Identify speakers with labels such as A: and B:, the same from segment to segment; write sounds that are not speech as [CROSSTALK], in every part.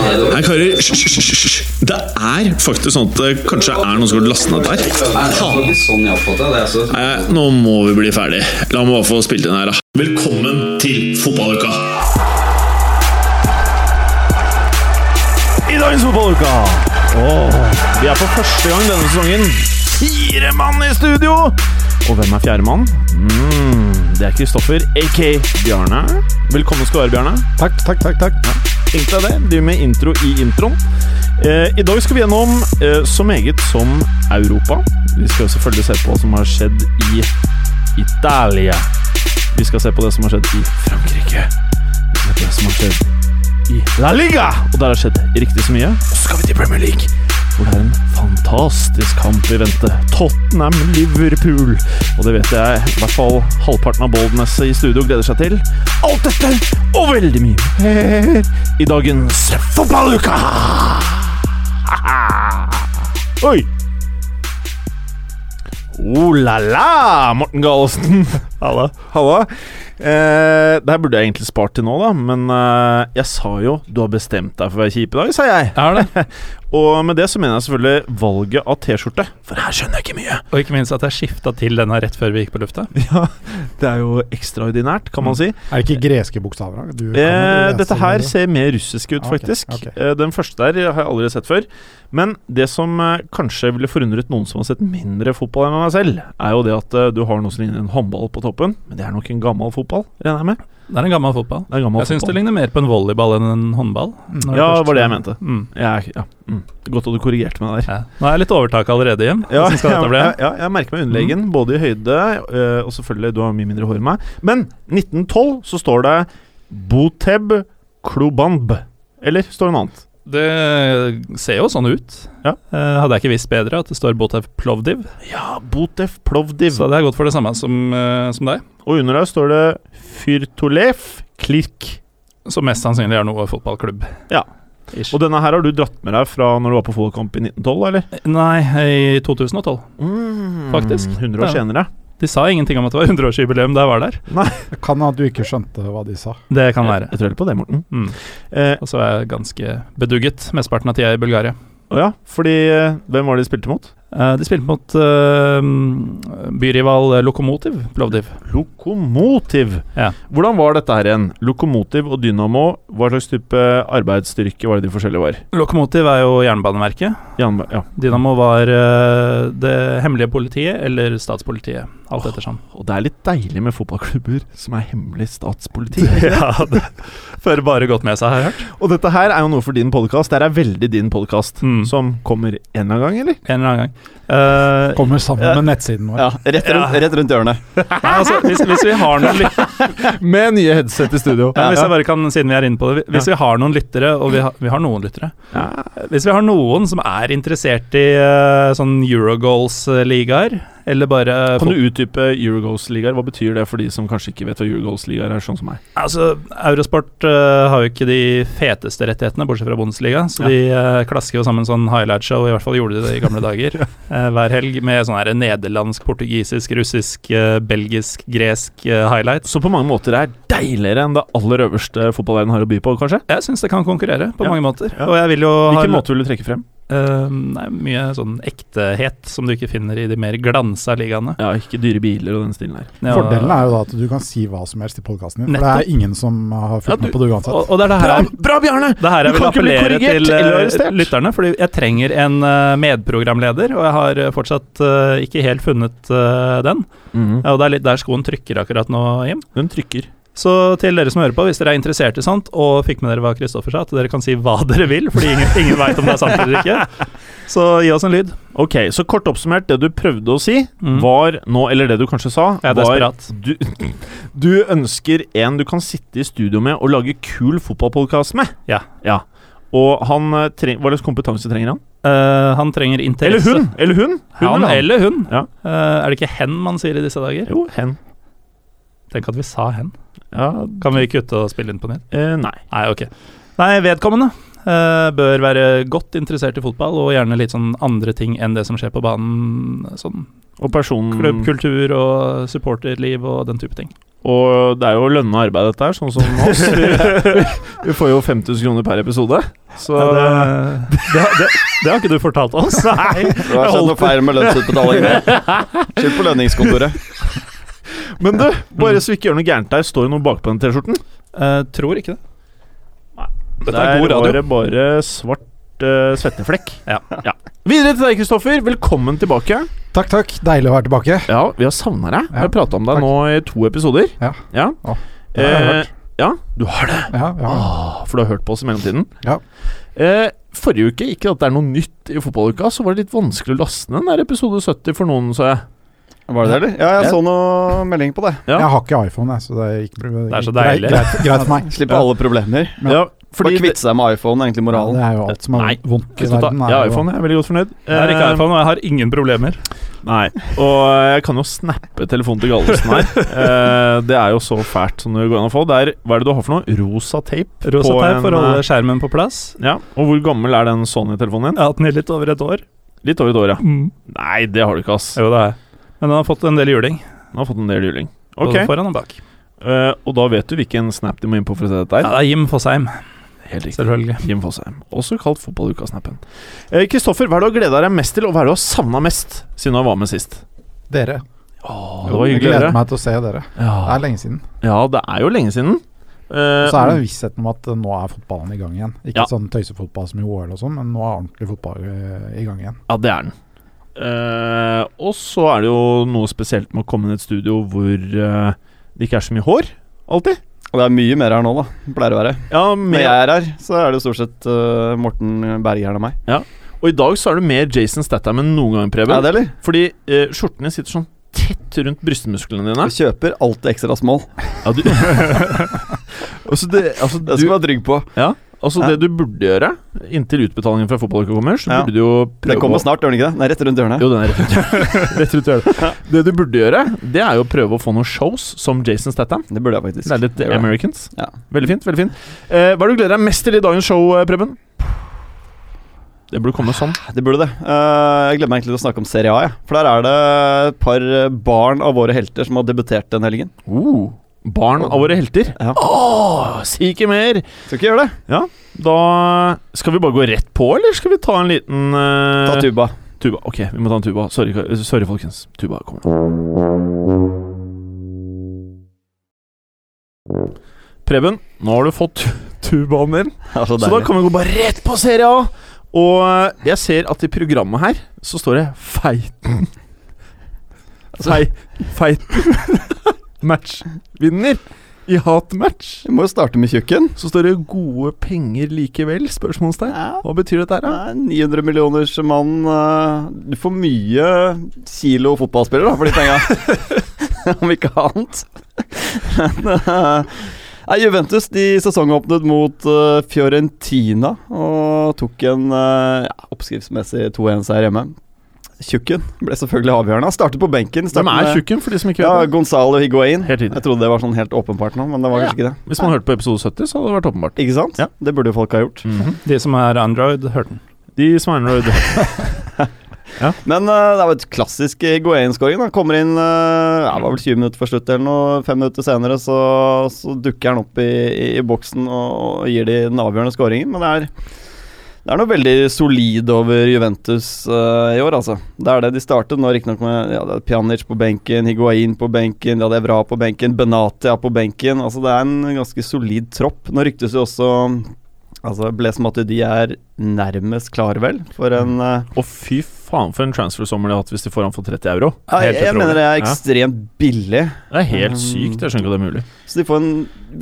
A: hører hysj, hysj, hysj, hysj. Det er faktisk sånn at det kanskje er noen som har lastet ned der.
B: Nei, det var ikke sånn jeg oppfattet det. Altså.
A: Nei, nå må vi bli ferdig. La meg bare få spilt inn her, da. Velkommen til fotballuka!
C: i dagens fotballuka. Åh, vi er for første gang denne sesongen fire mann i studio. Og hvem er fjerdemann? Mm, det er Kristoffer, aka Bjarne. Velkommen skal du være, Bjarne.
D: Takk, takk, takk. takk.
C: Tenk deg det. Driver med intro i introen. Eh, I dag skal vi gjennom eh, så meget som Europa. Vi skal selvfølgelig se på hva som har skjedd i Italia. Vi skal se på det som har skjedd i Frankrike. Vi skal se på det som har skjedd i La Liga. Og der har det skjedd riktig så mye. Og så skal vi til Premier League, hvor det er en fantastisk kamp i vente. Tottenham-Liverpool. Og det vet jeg i hvert fall halvparten av Boldnesset i studio gleder seg til. Alt dette og veldig mye mer i dagens fotballuka! [LAUGHS] Oi! Oh la la, Morten Galesen. [LAUGHS] Halla. Halla. Eh, det her burde jeg egentlig spart til nå, da, men eh, jeg sa jo du har bestemt deg for å være kjip i dag, sa jeg.
E: Jeg har det.
C: Og med det så mener jeg selvfølgelig valget av T-skjorte, for her skjønner jeg ikke [LAUGHS] mye.
E: Og ikke minst at jeg skifta til denne rett før vi gikk på lufta.
C: Det er jo ekstraordinært, kan man si.
D: Er det ikke greske bokstaver? da? Du kan jo
C: Eh,
D: lese
C: dette her
D: det.
C: ser mer russisk ut,
D: Ah, ok,
C: faktisk.
D: ok.
C: Eh, den første der har jeg aldri sett før. Men det som eh, kanskje ville forundret noen som har sett mindre fotball enn meg selv, er jo det at eh, du har noe som ligner en håndball på toppen, men det er nok en gammel fotball, regner jeg med?
E: Det er en gammel fotball.
C: Det er en gammel
E: Jeg syns det
C: fotball.
E: ligner mer på en volleyball enn en håndball. når
C: Ja,
E: først-
C: var det jeg mente.
E: Mm.
C: Jeg er- ja, mm. Godt at du korrigerte meg der.
E: Ja. Nå er jeg litt overtak allerede, Jim.
C: Ja,
E: Hvordan skal dette
C: jeg,
E: bli? Mm.
C: jeg, ja, jeg merker meg underlegen, både i høyde eh, og selvfølgelig du har mye mindre hår enn meg. Men 1912 så står det Boteb Klobanb. Eller står det noe annet?
E: Det ser jo sånn ut.
C: Ja.
E: Eh, hadde jeg ikke visst bedre at det står Botev Plovdiv,
C: Ja, Botef Plovdiv.
E: så hadde jeg gått for det samme som, eh, som deg.
C: Og under der står det Fyrtolef Klikk.
E: Som mest sannsynlig er noe fotballklubb.
C: Ja.
E: Ish.
C: Og denne her har du dratt med deg fra når du var på fotballkamp i 1912, eller?
E: Nei, i 2012. Mm. Faktisk.
C: 100 Mm, år
E: Ja.
C: senere.
E: De sa ingenting om at det var [LAUGHS] 100-årsjubileum da jeg var der.
D: Det Kan hende at du ikke skjønte hva de sa.
E: Det kan
C: Jeg,
E: være.
C: jeg tror heller på det, Morten.
E: Mm.
C: Eh,
E: Og så er jeg ganske bedugget mesteparten av tida i Bulgaria.
C: og ja, fordi eh, Hvem var det de spilte mot?
E: Eh, De spilte mot eh, byrival Lokomotiv Plovdiv.
C: Lokomotiv.
E: Ja.
C: Hvordan var dette her igjen? Lokomotiv og Dynamo, hva slags type arbeidsstyrke var det de forskjellige var?
E: Lokomotiv er jo jernbaneverket.
C: Jan, ja.
E: Dynamo var eh, det hemmelige politiet eller statspolitiet. Alt ettersom.
C: Og det er litt deilig med fotballklubber som er hemmelig statspoliti.
E: [LAUGHS] ja, [LAUGHS] det fører bare godt med seg, har jeg hørt.
C: og dette her er jo noe for din podkast. Det her er veldig din podkast,
E: Mm.
C: som kommer en eller annen gang, eller?
E: En eller annen gang. Eh,
D: Kommer sammen med nettsiden vår.
F: Ja, rett rundt, rett rundt hjørnet.
E: nei, altså, hvis, hvis vi har [LAUGHS] noen lyt
C: Med nye headset i studio.
E: ja, hvis jeg bare kan, siden vi er inne på det Hvis vi har noen lyttere, og vi har, vi har noen lyttere Hvis vi har noen som er interessert i eh, sånn Eurogoals-ligaer, eller bare eh,
C: Kan du utdype Eurogoals-ligaer? Hva betyr det for de som kanskje ikke vet hva Eurogoals-ligaer er, sånn som meg?
E: Altså, Eurosport eh, har jo ikke de feteste rettighetene, bortsett fra Bundesliga, så
C: Ja.
E: de eh, klasker jo sammen sånn highlight-show, i hvert fall gjorde de det i gamle
C: [LAUGHS]
E: dager, eh, hver helg, med sånn her nederlandsk, portugisisk, russisk, eh, belgisk, gresk eh, highlights.
C: Så på mange måter er det deiligere enn det aller øverste fotballverden har å by på, kanskje?
E: Jeg syns det kan konkurrere på
C: Ja.
E: mange måter,
C: Ja.
E: og jeg vil jo ha
C: Hvilken måte vil du trekke frem?
E: eh, nei, mye sånn ektehet som du ikke finner i de mer glansa ligaene.
C: Ja, ikke dyre biler og den stilen her.
E: Ja.
D: Fordelen er jo da at du kan si hva som helst i podkasten din. For det
E: Nettopp.
D: er ingen som har
C: Ja,
D: fulgt med
C: du-
D: på det uansett.
E: og, og det er det her jeg-
C: bra Bjarne!
E: Det her
C: Du
E: jeg vil
C: kan ikke bli
E: appellere
C: korrigert
E: til
C: eller
E: eh,
C: arrestert.
E: lytterne, fordi jeg trenger en eh, medprogramleder, og jeg har eh, fortsatt eh, ikke helt funnet eh, den. Ja, og det er litt der skoen trykker akkurat nå, Jim.
C: Mhm. Den trykker.
E: Så til dere som hører på, hvis dere er interessert i sånt, og fikk med dere hva Kristoffer sa, at dere kan si hva [LAUGHS] dere vil, fordi ingen, ingen veit om det er sant eller ikke. Så gi oss en lyd.
C: Ok, så kort oppsummert, det du prøvde å si,
E: Mm.
C: var nå Eller det du kanskje sa,
E: Jeg er
C: var
E: desperat.
C: du, [LAUGHS] du ønsker en du kan sitte i studio med og lage kul fotballpodkast med.
E: Ja.
C: Og han eh, treng, Hva slags kompetanse trenger han?
E: Eh, han trenger
C: Eller
E: interesse.
C: hun! Eller hun! hun
E: Han eller hun.
C: Ja.
E: Eh, er det ikke hen man sier i disse dager?
C: Jo, hen.
E: Tenk at vi sa hen.
C: Ja,
E: Kan vi kutte og spille inn på nytt?
C: eh, nei.
E: Nei, ok. Nei, vedkommende eh, bør være godt interessert i fotball, og gjerne litt sånn andre ting enn det som skjer på banen. Sånn
C: Og personen Mm.
E: klubbkultur og supporterliv og den type ting.
C: Og det er jo lønna arbeid, dette her, sånn
E: [LAUGHS]
C: som oss. Vi, vi får jo 5000 kroner per episode. Så
E: Ja,
C: det,
E: det, det, det, det har ikke du
C: [LAUGHS]
E: fortalt oss. Nei.
F: Det har skjedd noe feil med lønnsutbetalingene. Skyld på lønningskontoret.
C: Men du, bare så vi ikke gjør noe gærent der, står det noe bakpå den T-skjorten?
E: eh, tror ikke det. Dette
C: Der
E: er god
C: var
E: radio.
C: det bare svart eh, svetteflekk.
E: Ja.
C: Videre til deg, Kristoffer. Velkommen tilbake.
D: Takk, takk. Deilig å være tilbake.
C: Ja, vi har savna deg. Vi
D: Ja,
C: har prata om deg
D: takk.
C: nå i to episoder.
D: Ja.
C: ja.
D: Ja, det har jeg
C: Eh, ja, du har det.
D: Ja, ja.
C: Ah, for du har hørt på oss i mellomtiden.
D: Ja.
C: Eh, forrige uke, ikke at det er noe nytt i fotballuka, så var det litt vanskelig å laste ned den der episode 70 for noen, så jeg.
F: Var det det, eller? Ja, jeg så noe melding på det.
C: Ja.
D: Jeg har ikke iPhone, jeg, så det gikk bra.
E: Det er så
D: greit-
E: deilig.
D: Greit, greit for
C: [LAUGHS]
D: meg.
F: Slippe alle problemer.
D: Ja.
C: Ja, fordi
F: Bare kvitte seg med iPhone, er egentlig moralen.
D: Det er jo alt som er
C: Nei,
D: vondt i
C: Hvis du tar-
D: verden. er
C: Jeg har
D: jo-
C: iPhone, jeg er veldig godt fornøyd.
E: Jeg har ikke
C: Eh,
E: iPhone, og jeg har ingen problemer.
C: Nei. Og eh, jeg kan jo snappe telefonen til Gallosen her. Eh, det er jo så fælt som det går an å få. Det er, hva er det du har for noe? Rosa tape?
E: Rosa
C: på
E: teip
C: en,
E: for å
C: eh,
E: holde skjermen på plass.
C: Ja. Og hvor gammel er den Sony-telefonen
E: Jeg
C: din?
E: har hatt den i litt over et år.
C: Litt over et år, ja.
E: Mm.
C: Nei, det har du ikke, ass.
E: Jo, det har jeg. Men den har fått en del juling.
C: Den har fått en del juling. Ok,
E: Både foran og bak.
C: eh, og da vet du hvilken snap du må inn på for å se dette
E: Ja,
C: her.
E: det er Jim Fosheim,
C: Helt riktig.
E: selvfølgelig.
C: Jim Fosheim. Også kalt Fotballuka-snappen. Eh, Kristoffer, hva er det du har gleda deg mest til, og hva er det du har savna mest siden du var med sist?
D: Dere.
C: Åh, det var
D: Jeg
C: hyggelig å
D: gleder
C: høre.
D: meg til å se dere. Det
C: Ja.
D: er lenge siden.
C: ja, det er jo lenge siden. Eh,
D: Så er det vissheten om at eh, nå er fotballen i gang igjen. Ikke
C: Ja.
D: sånn tøysefotball som i OL og sånn, men nå er ordentlig fotball eh, i gang igjen.
C: Ja, det er den. Eh, og så er det jo noe spesielt med å komme inn i et studio hvor eh, det ikke er så mye hår. Alltid.
F: Og det er mye mer her nå, da. Pleier å være.
C: Ja,
F: Når
C: mer,
F: jeg er her, så er det stort sett eh, Morten Bergeren og meg.
C: og i dag så er det mer Jason Statham enn noen gang, Preben.
F: Er det, eller?
C: Fordi eh, skjortene sitter sånn tett rundt brystmusklene dine.
F: Du kjøper alltid ekstra small. [LAUGHS]
C: Ja, du altså, det, altså,
F: Det skal du
C: du,
F: være trygg på.
C: altså, det du burde gjøre inntil utbetalingen fra fotballuka kommer, så
F: Ja.
C: burde du jo
F: Den
C: prøve
F: kommer
C: å-
F: snart, gjør den ikke det? Den er rett rundt hjørnet.
C: Jo, den er
F: [LAUGHS]
C: rett ut. rett ut i hjørnet. Det du burde gjøre, det er jo å prøve å få noen shows som Jason Statham.
F: Det burde jeg faktisk.
C: Det er litt
F: Det gjør jeg.
C: Americans.
F: Ja.
C: Veldig fint. veldig fint eh, Hva er det du gleder deg mest til i dagens show, eh, Preben? Det burde komme sånn.
F: Det burde det. Eh, jeg gleder meg egentlig til å snakke om Serie A. jeg. For der er det et par eh, barn av våre helter som har debutert den helgen.
C: Uh, barn av våre helter.
F: Ja.
C: Åh, si ikke mer!
F: Skal ikke gjøre det.
C: Da skal vi bare gå rett på, eller skal vi ta en liten eh,
F: Ta [LAUGHS] tuba.
C: tuba? Ok, vi må ta en tuba. Sorry, ka- eh, sorry folkens. Tuba kommer. Preben, nå har du fått tubaen din.
F: Altså,
C: Så da kan vi gå bare rett på Serie A. Og jeg ser at i programmet her så står det Feiten.
F: Altså-
C: Fei, feiten [LAUGHS] matchvinner i hatmatch.
F: Vi må jo starte med tjukken.
C: Så står det 'gode penger likevel'? spørsmålstegn.
F: Ja.
C: Hva betyr dette her, da?
F: 900 millioners mann eh, Du får mye kilo fotballspillere da, for de penga. Om ikke annet. Men eh, nei, Juventus de sesongåpnet mot eh, Fiorentina og tok en eh, ja, oppskriftsmessig 2-1-seier hjemme. Tjukken ble selvfølgelig avgjørende. Han Startet på benken.
C: Hvem
F: startet
C: er
F: med-
C: tjukken, for de som ikke
F: Ja,
C: vet det?
F: Gonzalo Higuain.
C: Helt riktig.
F: Jeg trodde det var sånn helt åpenbart nå, men det var kanskje ikke det.
C: Hvis man hørte på episode 70, så hadde det vært åpenbart.
F: Ikke sant?
C: Ja.
F: Det burde jo folk ha gjort.
E: De som er Android, hørte den.
C: De som er nerd.
F: Men eh, det er jo et klassisk Higuain-skåring. da. Kommer inn eh, ja, det var vel 20 minutter før slutt eller noe. Fem minutter senere så, så dukker han opp i, i, i boksen og, og gir de den avgjørende skåringen. Men det er, det er noe veldig solid over Juventus eh, i år, altså. Det er det de startet nå, riktignok med ja, det er Pjanic på benken, Higuain på benken, de hadde Evra på benken, Benatia på benken. Altså Det er en ganske solid tropp. Nå ryktes jo også Altså, Blaise Matuidi er nærmest klar, vel, for en eh,
C: Og fy faen for en transfer-sommer de har hatt hvis de får han for 30 euro.
F: ja, jeg,
C: Helt
F: jeg
C: utrolig.
F: mener det er Mm.
C: Ja.
F: ekstremt billig.
C: Det er helt sykt. Jeg skjønner ikke at det er mulig.
F: Så de får en,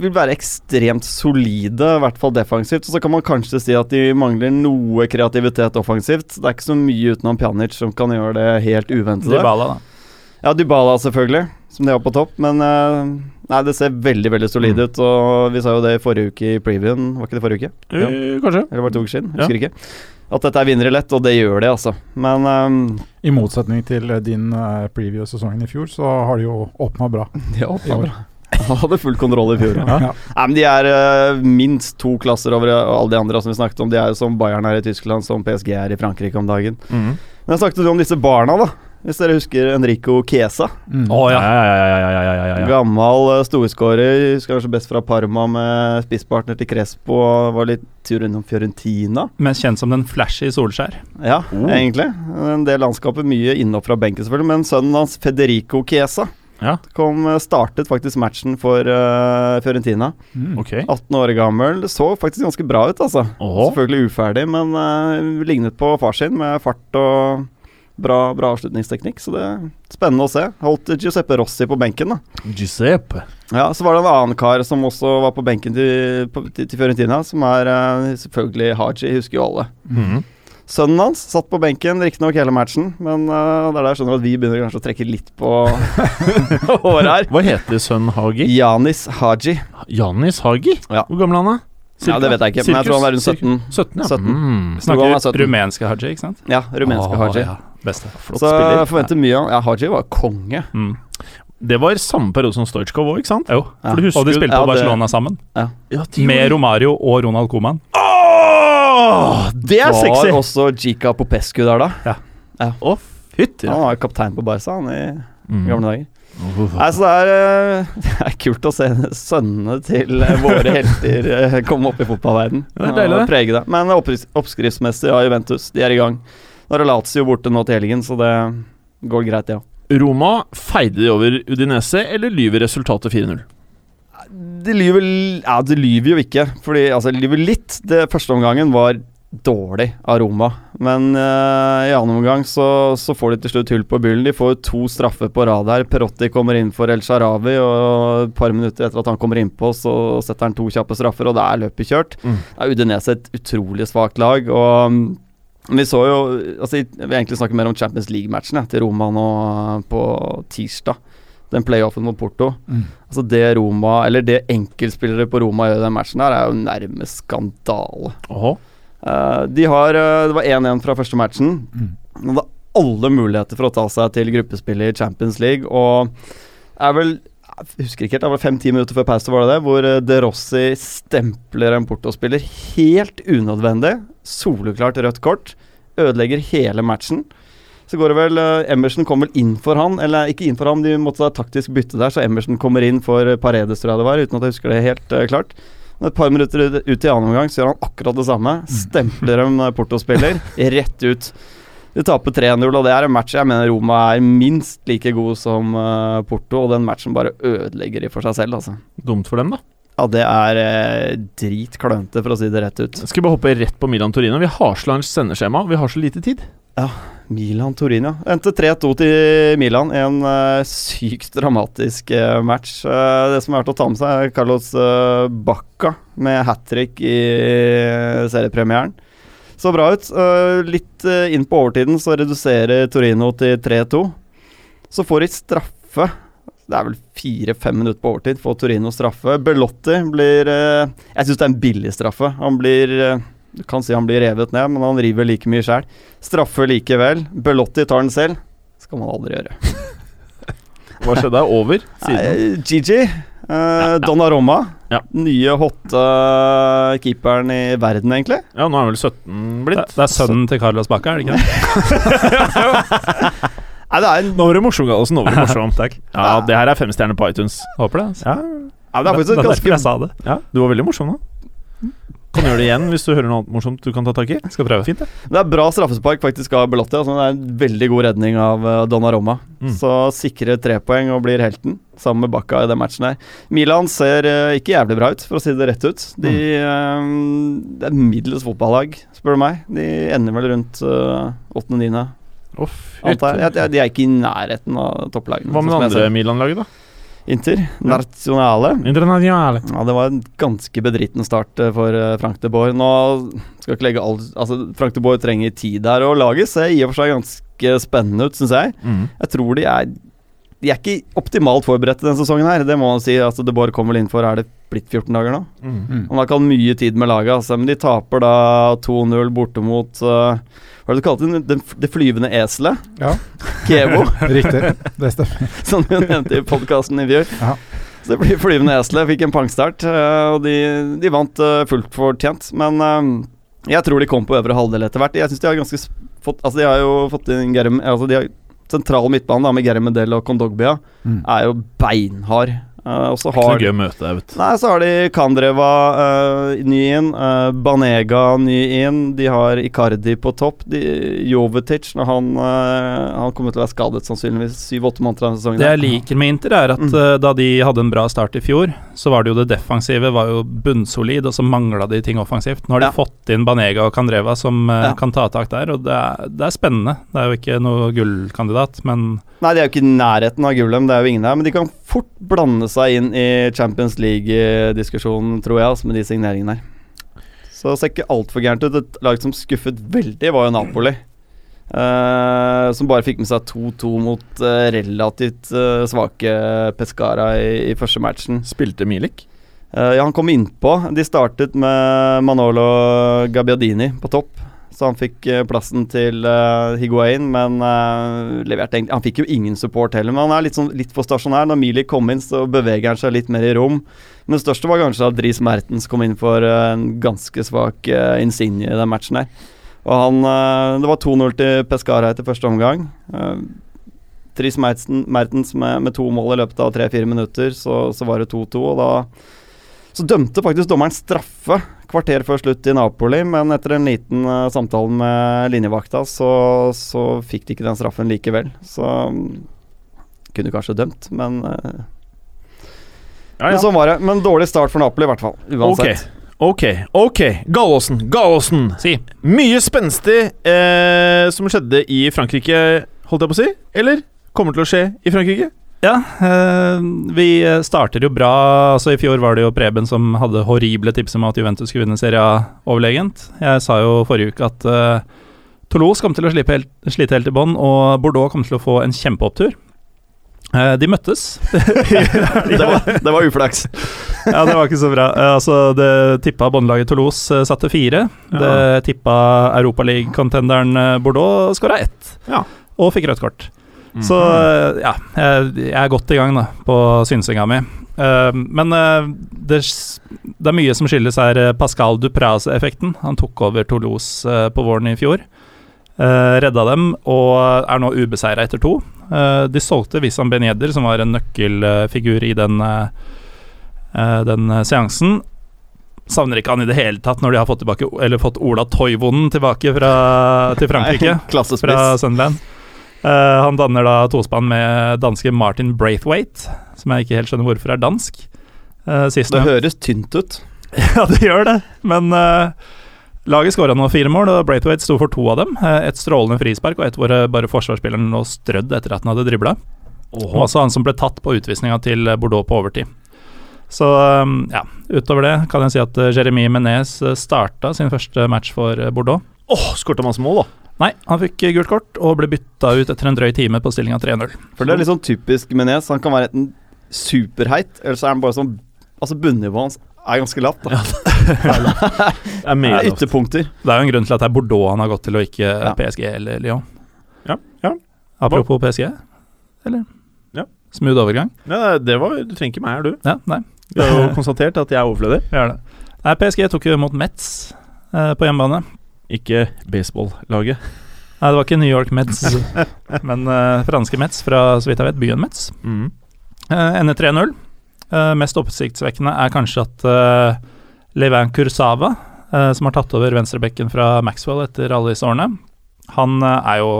F: vil være ekstremt solide, i hvert fall defensivt. Og så kan man kanskje si at de mangler noe kreativitet offensivt. Det er ikke så mye utenom Pjanic som kan gjøre det helt uventede.
E: Dybala, da.
F: Ja, Dybala selvfølgelig, som de har på topp. Men eh, nei, det ser veldig veldig solid
C: Mm.
F: ut. Og vi sa jo det i forrige uke i previewen, var ikke det forrige uke? Ja.
C: Eh, Kanskje.
F: Eller var det to uker siden? Husker ikke. At dette er vinnere lett, og det gjør de, altså. Men eh,
D: I motsetning til eh, din eh, preview sesongen i fjor, så har de jo åpna bra.
F: de
D: i år.
F: [LAUGHS] Han hadde full kontroll i fjor. Ja.
D: Ja.
F: Nei, men De er eh, minst to klasser over eh, alle de andre som vi snakket om. Mm. De er jo som Bayern er i Tyskland, som PSG er i Frankrike om dagen. Men jeg snakket jo om disse barna, da. hvis dere husker Enrico Chiesa.
D: Mm.
E: Å ja.
C: ja, ja, ja, ja, ja, ja, ja.
F: Gammel eh, storskårer, husker kanskje best fra Parma med spisspartner til Crespo. og Var litt tur innom Fiorentina.
E: Men kjent som den flashy Solskjær.
F: Ja,
C: Oh.
F: egentlig. En del landskaper, mye innopp fra benken selvfølgelig, men sønnen hans, Federico Chiesa,
C: Ja.
F: kom, eh, startet faktisk matchen for eh, Fiorentina.
D: Mm.
C: Ok.
F: 18 år gammel. Det så faktisk ganske bra ut, altså.
C: Åh.
F: Selvfølgelig uferdig, men eh, lignet på far sin med fart og bra, bra avslutningsteknikk. Så det er spennende å se. Holdt Giuseppe Rossi på benken, da.
C: Giuseppe.
F: Ja, Så var det en annen kar som også var på benken til, på, til, til Fiorentina, som er eh, selvfølgelig Haji, husker jo alle.
C: Mhm.
F: Sønnen hans satt på benken, riktignok hele matchen, men eh, det er der jeg skjønner at vi begynner kanskje å trekke litt på [LAUGHS] håret her.
C: Hva heter sønnen Hagi?
F: Janis Haji.
C: Janis Hagi?
F: Ja.
C: Hvor gammel er han da?
F: Ja, det vet jeg ikke, men jeg tror han er rundt 17.
C: 17, ja.
F: 17.
C: Mm.
F: Tror han er
E: Snakker
F: 17.
E: rumenske Haji, ikke sant?
F: Ja, rumenske
E: Å,
F: Haji.
E: ja. Beste. Flott
F: Så
E: spiller.
F: jeg forventer mye av Ja, Haji var konge.
E: Mm.
C: Det var samme periode som Stoichkov òg, ikke sant?
E: Jo.
F: Ja.
E: For du husker, og de spilte
F: Ja,
E: på
F: det-
E: Barcelona sammen.
C: Ja,
E: Med Romario og Ronald Coman.
C: Åh, det er sexy!
F: Var også Jika Popescu der, da.
C: Å, fytti
F: Han var jo kaptein på Barca han, i gamle dager.
C: Mm.
F: Nei, så det er, eh, [LAUGHS] det er kult å se sønnene til eh, våre helter eh, komme opp i fotballverden
C: Ja, det er deilig,
F: og prege det. Men oppskri- oppskriftsmessig av Juventus, de er i gang. Nå er det Lazio borte nå til helgen, så det går greit, det ja.
C: Roma feide de over Udinese, eller lyver resultatet 4-0?
F: De lyver, l- ja, de lyver jo ikke. Fordi, altså, de lyver litt. Det første omgangen var dårlig av Roma. Men eh, i annen omgang så, så får de til slutt hull på byllen. De får jo to straffer på rad her. Perotti kommer inn for El Sharawi, og et par minutter etter at han kommer innpå, så setter han to kjappe straffer, og det er løpet kjørt.
C: Mm.
F: Det er Udinese et utrolig svakt lag, og mm, vi så jo altså, Jeg vil egentlig snakke mer om Champions League-matchen jeg, til Roma nå eh, på tirsdag. Den playoffen mot Porto.
D: Mm.
F: Altså Det Roma, eller det enkeltspillere på Roma gjør i den matchen, her er jo nærmest skandale.
C: Åhå.
F: Eh, de har, eh, Det var 1-1 fra første matchen.
D: Mm.
F: De hadde alle muligheter for å ta seg til gruppespillet i Champions League. Og er vel jeg husker ikke helt, det var fem-ti minutter før pause, var det det, hvor eh, De Rossi stempler en Porto-spiller helt unødvendig. Soleklart rødt kort. Ødelegger hele matchen. Så går det vel eh, Emerson kom vel inn for han, eller ikke inn for ham, de måtte ha taktisk bytte der, så Emerson kommer inn for eh, Paredes, tror jeg det var, uten at jeg husker det helt eh, klart. Men et par minutter ut ut i annen omgang så gjør han akkurat det samme. Stempler en eh, Porto-spiller rett ut. De taper 3-0, og det er en match jeg mener Roma er minst like god som eh, Porto, og den matchen bare ødelegger de for seg selv, altså.
C: Dumt for dem, da.
F: Ja, det er eh, dritklønete, for å si det rett ut.
C: Skal vi bare hoppe rett på Milan Torino? Vi har så langt sendeskjema, vi har så lite tid.
F: Milan Torino. Endte 3-2 til Milan. En eh, sykt dramatisk eh, match. Eh, det som er verdt å ta med seg, er Carlos eh, Bacca med hat trick i seriepremieren. Så bra ut. Eh, litt eh, inn på overtiden så reduserer Torino til 3-2. Så får de straffe. Det er vel fire-fem minutter på overtid får Torino straffe. Belotti blir eh, Jeg syns det er en billig straffe. Han blir eh, Du kan si han blir revet ned, men han river like mye sjæl. Straffe likevel. Belotti tar den selv. Skal man aldri gjøre.
C: Hva skjedde? Er over siden?
F: Nei, Gigi. Eh, Donnarumma.
C: Ja.
F: Nye hotte keeperen i verden, egentlig.
C: Ja, nå er han vel 17
E: Det,
C: blitt.
E: det er sønnen til Carlos Bacca, er det ikke det?
F: Nei, det er, en,
C: Nå var du morsom, Gallosen. Nå var du [LAUGHS] morsom.
E: Takk.
C: Ja, det her er femstjerne på iTunes.
E: Håper det. altså.
C: Ja,
F: nei, det er faktisk
E: det
F: et
E: er derfor
F: ganske
E: jeg sa det.
C: ja, du var veldig morsom nå. Kan gjøre det igjen hvis du hører noe annet morsomt du kan ta tak i.
E: Skal prøve.
C: Fint, det.
F: Det er bra straffespark faktisk av Belotti. Altså, det er en veldig god redning av eh, Donnarumma.
C: Mm.
F: Så sikrer tre poeng og blir helten, sammen med Bakka i den matchen her. Milan ser eh, ikke jævlig bra ut, for å si det rett ut. De,
C: Mm.
F: eh, det er middels fotballag, spør du meg. De ender vel rundt eh, åttende-niende.
C: Å,
F: jeg.
C: fytti.
F: Jeg- jeg- De er ikke i nærheten av topplagene.
C: Hva med det
F: sånn som jeg
C: andre Milan-laget, da?
F: ser. Inter. Nazionale.
C: Internasjonale.
F: Ja, Det var en ganske bedriten start eh, for eh, Frank de Boer. Nå skal jeg ikke legge all, altså Frank de Boer trenger tid her, og laget ser i og for seg ganske spennende ut, syns jeg.
C: Mm.
F: Jeg tror de er De er ikke optimalt forberedt denne sesongen her, det må man si. Altså, de Boer kom vel inn for Er det blitt 14 dager nå?
C: Mm.
D: Mm.
F: Han har ikke hatt mye tid med laget, altså, men de taper da 2-0 borte mot eh, Hva er det du kalte den? Den- Det flyvende eselet?
D: Ja.
C: [LAUGHS]
F: Kevo,
D: Riktig. Det stemmer.
F: [LAUGHS] som du nevnte i podkasten i fjor.
D: Ja.
F: Så det blir flyvende esler. Fikk en pangstart, eh, og de, de vant eh, fullt fortjent. Men eh, jeg tror de kom på øvre halvdel etter hvert. Jeg synes de har ganske s- fått Altså, de har jo fått inn Gerim Altså, de har sentral midtbane da, med Gary Medel og Kondogbia
D: Mm.
F: er jo beinhard. Eh, og så
C: Det
F: har
C: er gøy å møte deg, vet du.
F: Nei, så har de Kandreva eh, ny inn, eh, Banega ny inn, de har Icardi på topp. De, Jovetic når han, eh, han kommer til å være skadet sannsynligvis syv-åtte måneder av sesongen.
E: Det
F: her.
E: jeg liker med Inter, er at
F: Mm.
E: eh, da de hadde en bra start i fjor, så var det jo det defensive var jo bunnsolid, og så mangla de ting offensivt. Nå har de
F: Ja.
E: fått inn Banega og Candreva som eh,
F: Ja.
E: kan ta tak der, og det er, det er spennende. Det er jo ikke noe gullkandidat, men
F: Nei, de er jo ikke i nærheten av Gullem, det er jo ingen her, men de kan fort blande seg inn i Champions League-diskusjonen, tror jeg, altså, med de signeringene her. Så det ser ikke altfor gærent ut. Et lag som skuffet veldig, var jo Napoli. eh, som bare fikk med seg 2-2 mot eh, relativt eh, svake Pescara i, i første matchen.
C: Spilte Milik?
F: Eh, ja, han kom innpå. De startet med Manolo Gabbiadini på topp. Så han fikk eh, plassen til eh, Higuain, men eh, leverte egentlig Han fikk jo ingen support heller, men han er litt, sånn, litt for stasjonær. Når Mili kom inn, så beveger han seg litt mer i rom. Men det største var kanskje at Dries Mertens kom inn for eh, en ganske svak uh, insigne i den matchen her. Og han eh, Det var 2-0 til Pescara etter første omgang. Uh, Dries Mertens, Mertens med, med to mål i løpet av tre-fire minutter, så, så var det 2-2, og da så dømte faktisk dommeren straffe kvarter før slutt i Napoli, men etter en liten eh, samtale med linjevakta, så, så fikk de ikke den straffen likevel. Så mm, kunne kanskje dømt, men, eh, men sånn var det. Men dårlig start for Napoli, i hvert fall. Uansett.
C: Ok, ok. Gallosen, Gallosen.
E: si.
C: Mye spenstig eh, som skjedde i Frankrike, holdt jeg på å si. Eller kommer til å skje i [LAUGHS] Frankrike.
E: Ja, eh, vi eh, starter jo bra. Altså I fjor var det jo Preben som hadde horrible tips om at Juventus skulle vinne Serie A overlegent. Jeg sa jo forrige uke at eh, Toulouse kom til å slippe helt, slite helt i bånn, og Bordeaux kom til å få en kjempeopptur. Eh, de møttes.
F: [LAUGHS]
E: [LAUGHS]
F: Det, var, det var uflaks.
E: Ja, det var ikke så bra. Eh, altså, det tippa båndlaget Toulouse eh, satte fire. Det tippa Europaliga-contenderen eh, Bordeaux skåra ett,
C: Ja.
E: og fikk rødt kort.
C: Mm.
E: Så eh, ja, jeg, jeg er godt i gang da, på synsinga mi. Eh, men eh, det, s- det er mye som skyldes her eh, Pascal Dupraz-effekten. Han tok over Toulouse eh, på våren i fjor. eh, redda dem og er nå ubeseira etter to. Eh, de solgte Wissam Ben Yedder, som var en nøkkelfigur i den, eh, eh, den eh, seansen. Savner ikke han i det hele tatt når de har fått, tilbake, eller fått Ola Toivonen tilbake fra, til Frankrike fra
F: [LAUGHS] Klassespiss.
E: Sunderland. Eh, han danner da tospann med danske Martin Braithwaite, som jeg ikke helt skjønner hvorfor er dansk. Uh, sist
F: Det høres tynt ut.
E: [LAUGHS] ja, det gjør det, men eh, laget skåra nå fire mål, og Braithwaite sto for to av dem. Eh, et strålende frispark og et hvor eh, bare forsvarsspilleren lå strødd etter at han hadde dribla. Og også han som ble tatt på utvisninga til eh, Bordeaux på overtid. Så eh, ja, utover det kan jeg si at eh, Jeremy Menez eh, starta sin første match for eh, Bordeaux.
C: Åh, skårte masse mål, da.
E: Nei, han fikk gult kort og ble bytta ut etter en drøy time på stillinga 3-0.
F: For det er litt sånn typisk Menez. Han kan være enten superheit, eller så er han bare sånn Altså, bunnivået hans er ganske lavt. da.
C: Det er
F: Det er
C: meget ofte.
F: ytterpunkter.
E: Det er jo en grunn til at det er Bordeaux han har gått til, og ikke eh,
F: Ja.
E: PSG eller Lyon.
C: Ja, ja.
E: Apropos PSG, eller?
C: Ja.
E: Smooth overgang?
C: Nei, det var, du trenger ikke meg her, du.
E: Ja, nei,
C: Du har [LAUGHS] jo konstatert at jeg er overflødig.
E: vi gjør det. Nei, PSG tok jo mot Metz eh, på hjemmebane.
C: Ikke baseballaget.
E: Nei, det var ikke New York Metz,
C: [LAUGHS]
E: men eh, franske Metz fra, så vidt jeg vet, byen Metz.
C: Mm.
E: Eh, Ender 3-0. Eh, mest oppsiktsvekkende er kanskje at eh, Levin Kursava, eh, som har tatt over venstrebekken fra Maxwell etter alle disse årene, han eh, er jo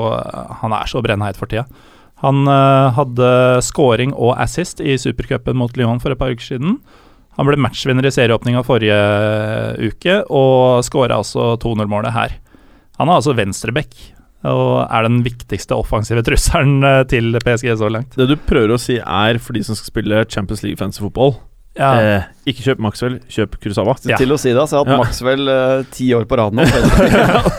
E: Han er så brennheit for tida. Han eh, hadde scoring og assist i supercupen mot Lyon for et par uker siden. Han ble matchvinner i serieåpninga forrige uke, og skåra altså 2-0-målet her. Han er altså venstrebekk, og er den viktigste offensive trusselen eh, til PSG så langt.
C: Det du prøver å si, er for de som skal spille Champions League fancy fotball
E: Ja.
C: eh, Ikke kjøp Maxwell, kjøp Kurosawa.
F: Så Til å si det, så har jeg hatt
C: Ja.
F: Maxwell eh, ti år på rad nå.
E: [LAUGHS]
C: [LAUGHS]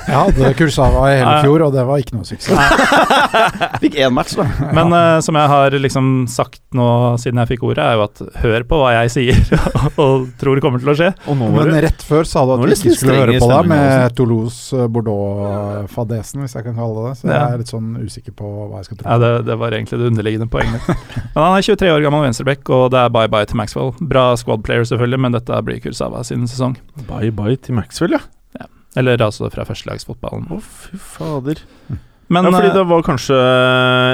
D: Jeg hadde Kursawa i hele
E: Ja.
D: fjor, og det var ikke noe suksess.
F: [LAUGHS] Fikk én match, da.
E: Men eh, som jeg har liksom sagt nå siden jeg fikk ordet, er jo at hør på hva jeg sier [LAUGHS] og tror kommer til å skje.
C: Og nå var
D: Men
C: det
D: rett før sa du
C: Nå er
D: at du
C: det
D: ikke
C: litt
D: skulle
C: streng
D: høre
C: i
D: på deg
C: stemningen
D: med Toulouse-Bordeaux-fadesen, hvis jeg kan kalle det det. Så jeg
E: Ja.
D: er litt sånn usikker på hva jeg skal tro.
E: Ja, det, det var egentlig det underliggende poenget mitt. Men han er 23 år gammel venstreback, og det er bye-bye til Maxwell. Bra squad player, selvfølgelig, men dette blir Kursawa sin sesong.
F: eh,
C: Bye bye til Maxwell, ja.
E: Eller altså fra førstelagsfotballen.
C: Å, fy fader.
E: Men
C: ja, fordi
E: eh,
C: det var kanskje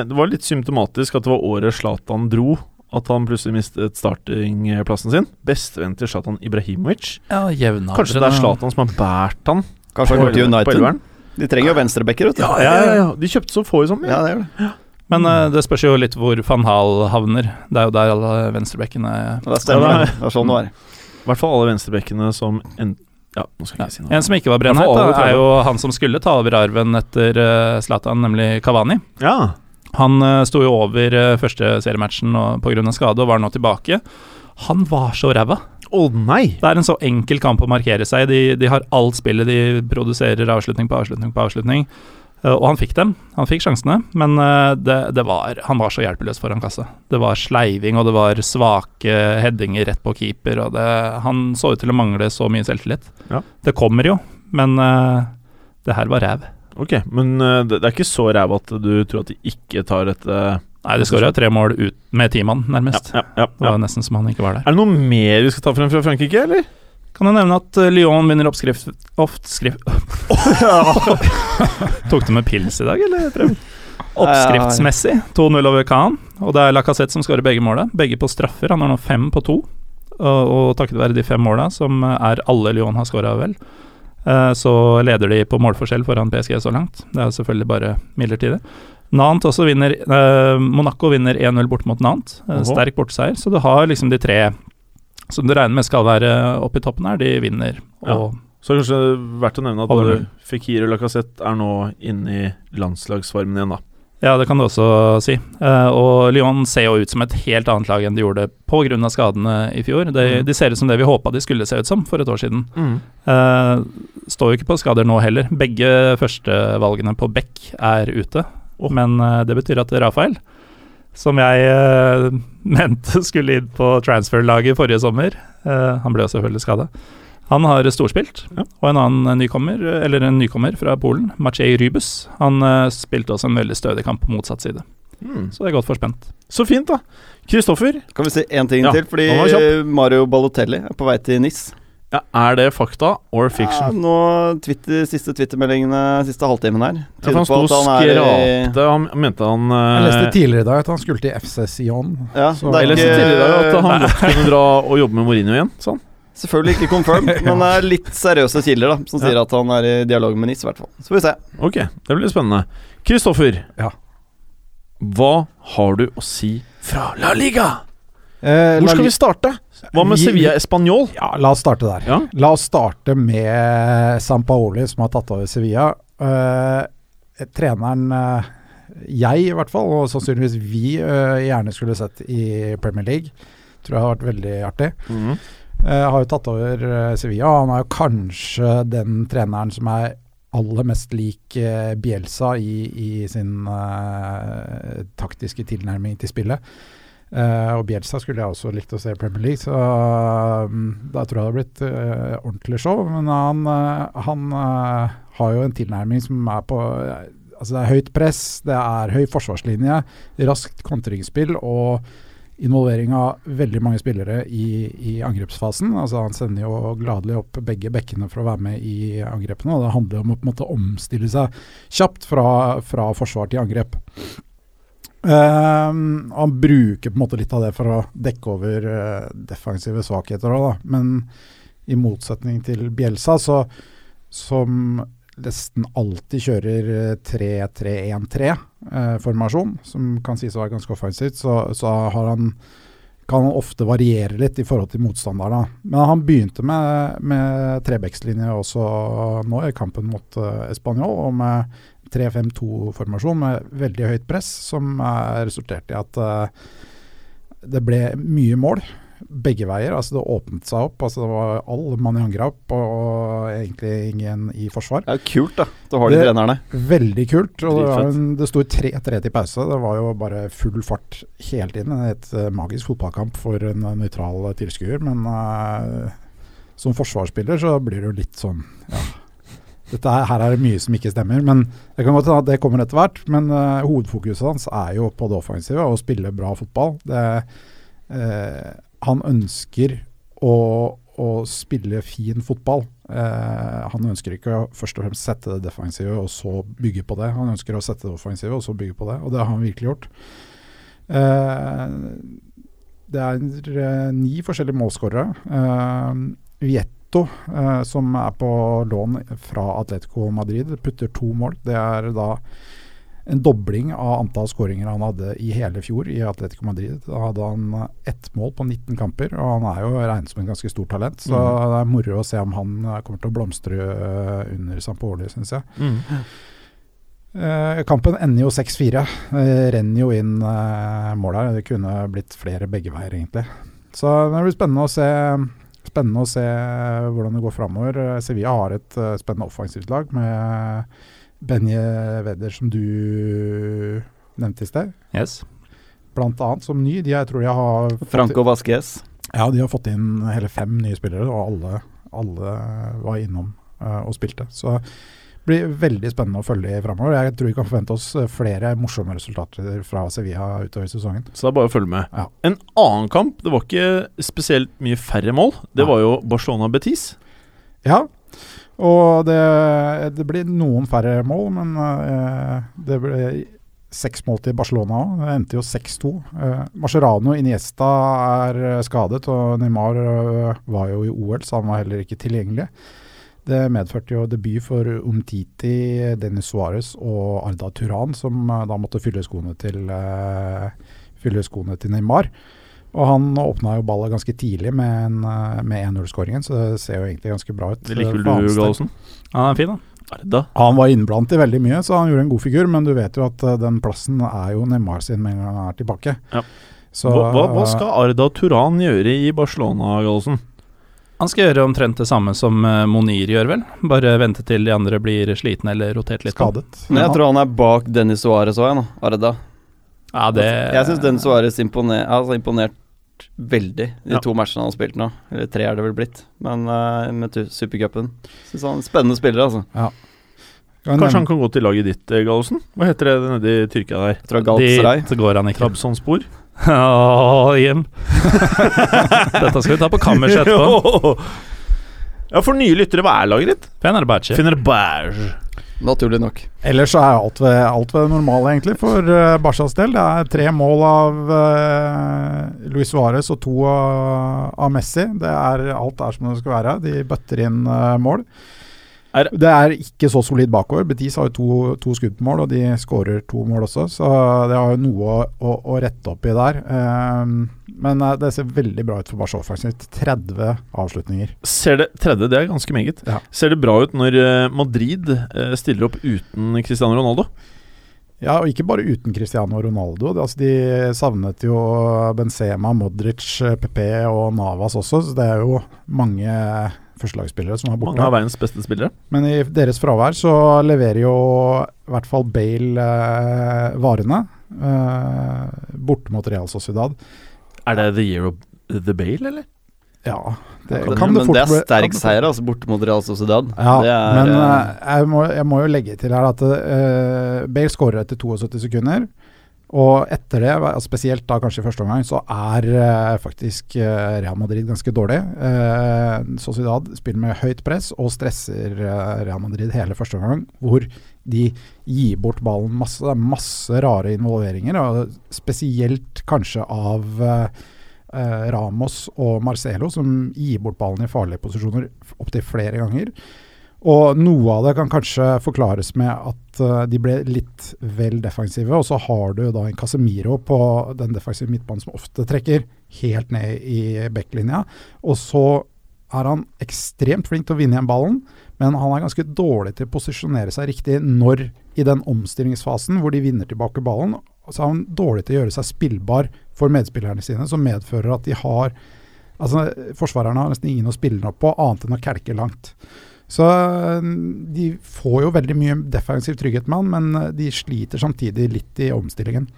C: Det var litt symptomatisk at det var året Zlatan dro. At han plutselig mistet startingplassen sin. Bestevenn til Zlatan Ibrahimovic.
E: ja, jevnaldrende-
C: Kanskje det er Zlatan som har båret han
F: Kanskje han går til
C: på
F: United.
C: elveren?
F: De trenger jo venstrebacker, vet du.
C: Ja, ja, ja. De kjøpte så få i sommer.
F: Ja, det gjør det.
E: Men eh, det spørs jo litt hvor van Hal havner. Det er jo der alle venstrebekkene
F: Ja, Det stemmer.
C: Ja,
F: det. Det var sånn det var.
C: I hvert fall alle venstrebekkene som en, Ja, nå skal jeg
E: ja.
C: ikke si noe.
E: En som ikke var
C: Ja,
E: brennheit,
C: for alle
E: da,
C: tar
E: er
C: det.
E: jo han som skulle ta over arven etter eh, Zlatan, nemlig Kavani.
C: Ja.
E: Han eh, sto jo over eh, første seriematchen pga. skade og var nå tilbake. Han var så ræva.
C: Å nei!
E: Det er en så enkel kamp å markere seg. De, de har alt spillet. De produserer avslutning på avslutning på avslutning. Eh, Og han fikk dem. Han fikk sjansene, men eh, det, det var, han var så hjelpeløs foran kassa. Det var sleiving, og det var svake headinger rett på keeper, og det, han så ut til å mangle så mye selvtillit.
C: Ja.
E: Det kommer jo, men eh, det her var ræv.
C: Ok, men eh, det, det er ikke så ræva at du tror at de ikke tar eh, dette
E: Nei, de skåra tre mål ut med ti mann, nærmest.
C: ja, ja,
E: Det var nesten som han ikke var der.
C: Er det noe mer vi skal ta frem fra Frankrike, eller?
E: Kan jeg nevne at eh, Lyon vinner oppskrift [LAUGHS] Oft skrift Tok du med pils i dag, eller? Preben? Oppskriftsmessig 2-0 over Khan. Og det er Lacassette som skårer begge måla. Begge på straffer. Han har nå fem på to. Og, og takket være de fem måla, som eh, er alle Lyon har skåra, vel, eh, så leder de på målforskjell foran PSG så langt. Det er jo selvfølgelig bare midlertidig. Nantes også vinner eh, Monaco vinner 1-0 bort mot Nantes. Eh,
C: Oho.
E: sterk borteseier. Så du har liksom de tre som du regner med skal være oppe i toppen her, de vinner. Og
C: Så er det kanskje verdt å nevne at
E: Holder
C: både
E: null.
C: Fikir og Lacassette er nå inne i landslagsformen igjen, da.
E: Ja, det kan du også si. Eh, og Lyon ser jo ut som et helt annet lag enn de gjorde pga. skadene i fjor. De,
C: Mm.
E: de ser ut som det vi håpa de skulle se ut som for et år siden. Eh, står jo ikke på skader nå heller. Begge førstevalgene på Beck er ute. Men eh, det betyr at Rafael, som jeg eh, [LAUGHS] mente skulle inn på transferlaget forrige sommer eh, Han ble jo selvfølgelig skada. Han har storspilt,
C: Ja.
E: og en annen nykommer, eller en nykommer fra Polen, Maciej Rybus, han eh, spilte også en veldig stødig kamp på motsatt side.
C: Mm.
E: Så det er godt forspent.
C: Så fint, da. Kristoffer,
F: Kan vi si én ting
C: Ja,
F: til? Fordi eh,
C: han var kjapp.
F: Mario Balotelli er på vei til NIS.
C: ja, er det fakta or
F: Ja,
C: fiction?
F: nå Twitter, Siste twittermeldingene siste halvtimen her
C: Ja, for han sto
F: tyder
C: og
F: på at han er i-
C: skrapte Han mente han
D: Jeg
C: eh,
D: leste tidligere i dag at han skulle til FC Sion.
F: Ja,
D: Så-
F: det
C: Jeg
F: er
C: leste tidligere i dag at
F: ikke,
C: han godt kunne dra og jobbe med Mourinho igjen. Sånn.
F: selvfølgelig ikke confirmed,
C: [LAUGHS]
F: men det er litt seriøse kilder da som sier at han er i dialog med NIS, i hvert fall. Så får vi se.
C: Ok, det blir spennende. Kristoffer,
D: Ja.
C: hva har du å si fra La Liga?
D: Eh,
C: Hvor
D: La
C: skal
D: Li-
C: vi starte? Hva med
D: Vi-
C: Sevilla Español?
D: Ja, la oss starte der.
C: Ja.
D: La oss starte med Sampaoli, som har tatt over Sevilla. Eh, treneren eh, jeg, i hvert fall, og sannsynligvis vi, eh, gjerne skulle sett i Premier League. Tror jeg har vært veldig artig. Eh, har jo tatt over eh, Sevilla. og Han er jo kanskje den treneren som er aller mest lik eh, Bielsa i, i sin eh, taktiske tilnærming til spillet. Eh, og Bielsa skulle jeg også likt å se i Premier League, så mm, da tror jeg det hadde blitt eh, ordentlig show. Men han, eh, han eh, har jo en tilnærming som er på eh, Altså det er høyt press, det er høy forsvarslinje, raskt kontringsspill og involvering av veldig mange spillere i, i angrepsfasen. Altså Han sender jo gladelig opp begge bekkene for å være med i angrepene. og Det handler om å på en måte omstille seg kjapt fra, fra forsvar til angrep. Ehm, og han bruker på en måte litt av det for å dekke over eh, defensive svakheter òg, da. Men i motsetning til Bjelsa, så, som nesten alltid kjører eh, 3-3-1-3, eh, formasjon, som kan sies å være ganske offensivt, så, så har han kan han ofte variere litt i forhold til motstanderne. Men han begynte med, med trebekslinje også nå i kampen mot uh, Español, og med 3-5-2-formasjon med veldig høyt press, som eh, resulterte i at eh, det ble mye mål begge veier. altså Det åpnet seg opp. altså Det var all mann i angrep, og, og egentlig ingen i forsvar.
F: Det er jo kult, da. Da har de
D: Det-
F: trenerne.
D: Veldig kult. og Det, var
F: Dritfett.
D: en, det sto 3-3 til pause. Det var jo bare full fart hele tiden. Et eh, magisk fotballkamp for en eh, nøytral eh, tilskuer. Men eh, som forsvarsspiller så blir det jo litt sånn ja. Dette er, her er det mye som ikke stemmer, men det kan godt hende at det kommer etter hvert. Men eh, hovedfokuset hans er jo på det offensive, å spille bra fotball. Det, eh, han ønsker å, å å spille fin fotball. Eh, han ønsker ikke å først og fremst sette det defensive og så bygge på det. Han ønsker å sette det offensive og så bygge på det, og det har han virkelig gjort. Eh, det er eh, ni forskjellige målskårere. Eh, Vietto, eh, som er på lån fra Atletico Madrid, putter to mål. Det er da en dobling av antall skåringer han hadde i hele fjor i Atletico Madrid. Da hadde han ett mål på 19 kamper, og han er jo regnet som en ganske stort talent. Så det er moro å se om han eh, kommer til å blomstre eh, under Sampoli, syns jeg. Eh, kampen ender jo 6-4. Eh, renner jo inn eh, mål her. Det kunne blitt flere begge veier, egentlig. Så det blir spennende å se, spennende å se hvordan det går framover. Eh, Sevilla har et eh, spennende offensivt lag med Benje Wedder, som du nevnte i sted.
E: Yes.
D: Blant annet som ny. De, jeg tror de har fått,
F: Franco Vasquez.
D: Ja, de har fått inn hele fem nye spillere, og alle, alle var innom eh, og spilte. Så det blir veldig spennende å følge framover. Jeg tror vi kan forvente oss eh, flere morsomme resultater fra Sevilla utover sesongen.
C: Så det er bare å følge med.
D: Ja.
C: En annen kamp, det var ikke spesielt mye færre mål. Det
D: Nei.
C: var jo Barcelona Betis.
D: Ja, og det, det blir noen færre mål, men eh, det ble seks mål til Barcelona òg. Det endte jo 6-2. Eh, Mascherano Iniesta er eh, skadet, og Neymar eh, var jo i OL, så han var heller ikke tilgjengelig. Det medførte jo debut for Umtiti, Dennis Suárez og Arda Turan, som eh, da måtte fylle skoene til, eh, fylle skoene til Neymar. Og han åpna jo ballet ganske tidlig med en, eh, med 1-0-skåringen, så det ser jo egentlig ganske bra ut. Eh,
C: Det liker
D: For
C: vel
D: hans
C: du,
D: del.
C: Gallosen?
E: Han er fin, da.
C: Arda.
D: Han var innblandet i veldig mye, så han gjorde en god figur, men du vet jo at eh, den plassen er jo Neymar sin med en gang han er tilbake.
C: Ja.
D: Så,
C: hva, hva, hva
D: eh,
C: skal Arda Turan gjøre i Barcelona, Gallosen?
E: Han skal gjøre omtrent det samme som eh, Monir gjør, vel. Bare vente til de andre blir slitne eller rotert litt.
D: Skadet.
F: Men jeg
D: Ja.
F: tror han er bak Dennis Suárez òg, jeg nå. Arda.
E: Ja, det
F: Jeg syns Dennis Suárez imponer, altså, imponert veldig de
C: Ja.
F: to matchene han har spilt nå. Eller tre er det vel blitt, men eh, med tu- supercupen. Syns han er en spennende spiller, altså.
D: Kan jeg
C: Kanskje
D: nevne-
C: han kan gå til laget ditt, eh, Gallosen? Hva heter det nede i Tyrkia der?
F: Jeg tror Galatasaray.
E: Dit går han ikke.
C: Trabzonspor?
E: Åh, Jim. [LAUGHS] Dette skal vi ta på
C: [LAUGHS]
E: kammerset etterpå.
C: ja, for nye lyttere, hva er laget ditt?
E: Fenerbahçe.
C: Fenerbahçe.
F: Naturlig nok.
D: Ellers så er alt ved, alt ved det normale, egentlig, for uh, Barcas del. Det er tre mål av eh, Luis Suárez og to av, av Messi. Det er, alt er som det skal være. De bøtter inn eh, mål.
C: Er-
D: det er ikke så solid bakover. Betis har jo to, to skudd på mål, og de skårer to mål også, så det har jo noe å, å, å rette opp i der. Ehm, men eh, det ser veldig bra ut for Barca offensivt. 30 avslutninger.
C: Ser det, tredje, det er ganske meget.
D: Ja.
C: Ser det bra ut når eh, Madrid eh, stiller opp uten Cristiano Ronaldo?
D: Ja, og ikke bare uten Cristiano Ronaldo. Det- Altså, de savnet jo Benzema, Modric, eh, Pepe og Navas også, så det er jo mange førstelagsspillere som er
C: Mange av
D: borte.
C: verdens beste spillere.
D: Men i deres fravær så leverer jo i hvert fall Bale eh, varene. Eh, borte mot Real Sociedad.
C: Er det the year of the Bale, eller?
D: Ja, det
F: Men-
D: kan, det
F: men
D: fort
F: det er
D: bli- kan
F: sterk
D: det fort-
F: seier, altså, borte mot Real Sociedad.
D: Ja,
F: det er,
D: men
F: eh,
D: eh, jeg, må, jeg må jo legge til her at eh, Bale skårer etter 72 sekunder. Og etter det, hva- spesielt da kanskje i første omgang, så er eh, faktisk eh, Real Madrid ganske dårlig. Eh, Sociedad spiller med høyt press og stresser eh, Real Madrid hele første omgang, hvor de gir bort ballen masse. Det er masse rare involveringer, og spesielt kanskje av eh, eh, Ramos og Marcelo, som gir bort ballen i farlige posisjoner opptil flere ganger. Og noe av det kan kanskje forklares med at eh, de ble litt vel defensive, og så har du da en Casemiro på den defensive midtbanen som ofte trekker helt ned i backlinja. Og så er han ekstremt flink til å vinne igjen ballen, men han er ganske dårlig til å posisjonere seg riktig når i den omstillingsfasen hvor de vinner tilbake ballen, så er han dårlig til å gjøre seg spillbar for medspillerne sine, som medfører at de har Altså, forsvarerne har nesten ingen å spille den opp på, annet enn å kelke langt. Så eh, de får jo veldig mye defensiv trygghet med han, men eh, de sliter samtidig litt i omstillingen.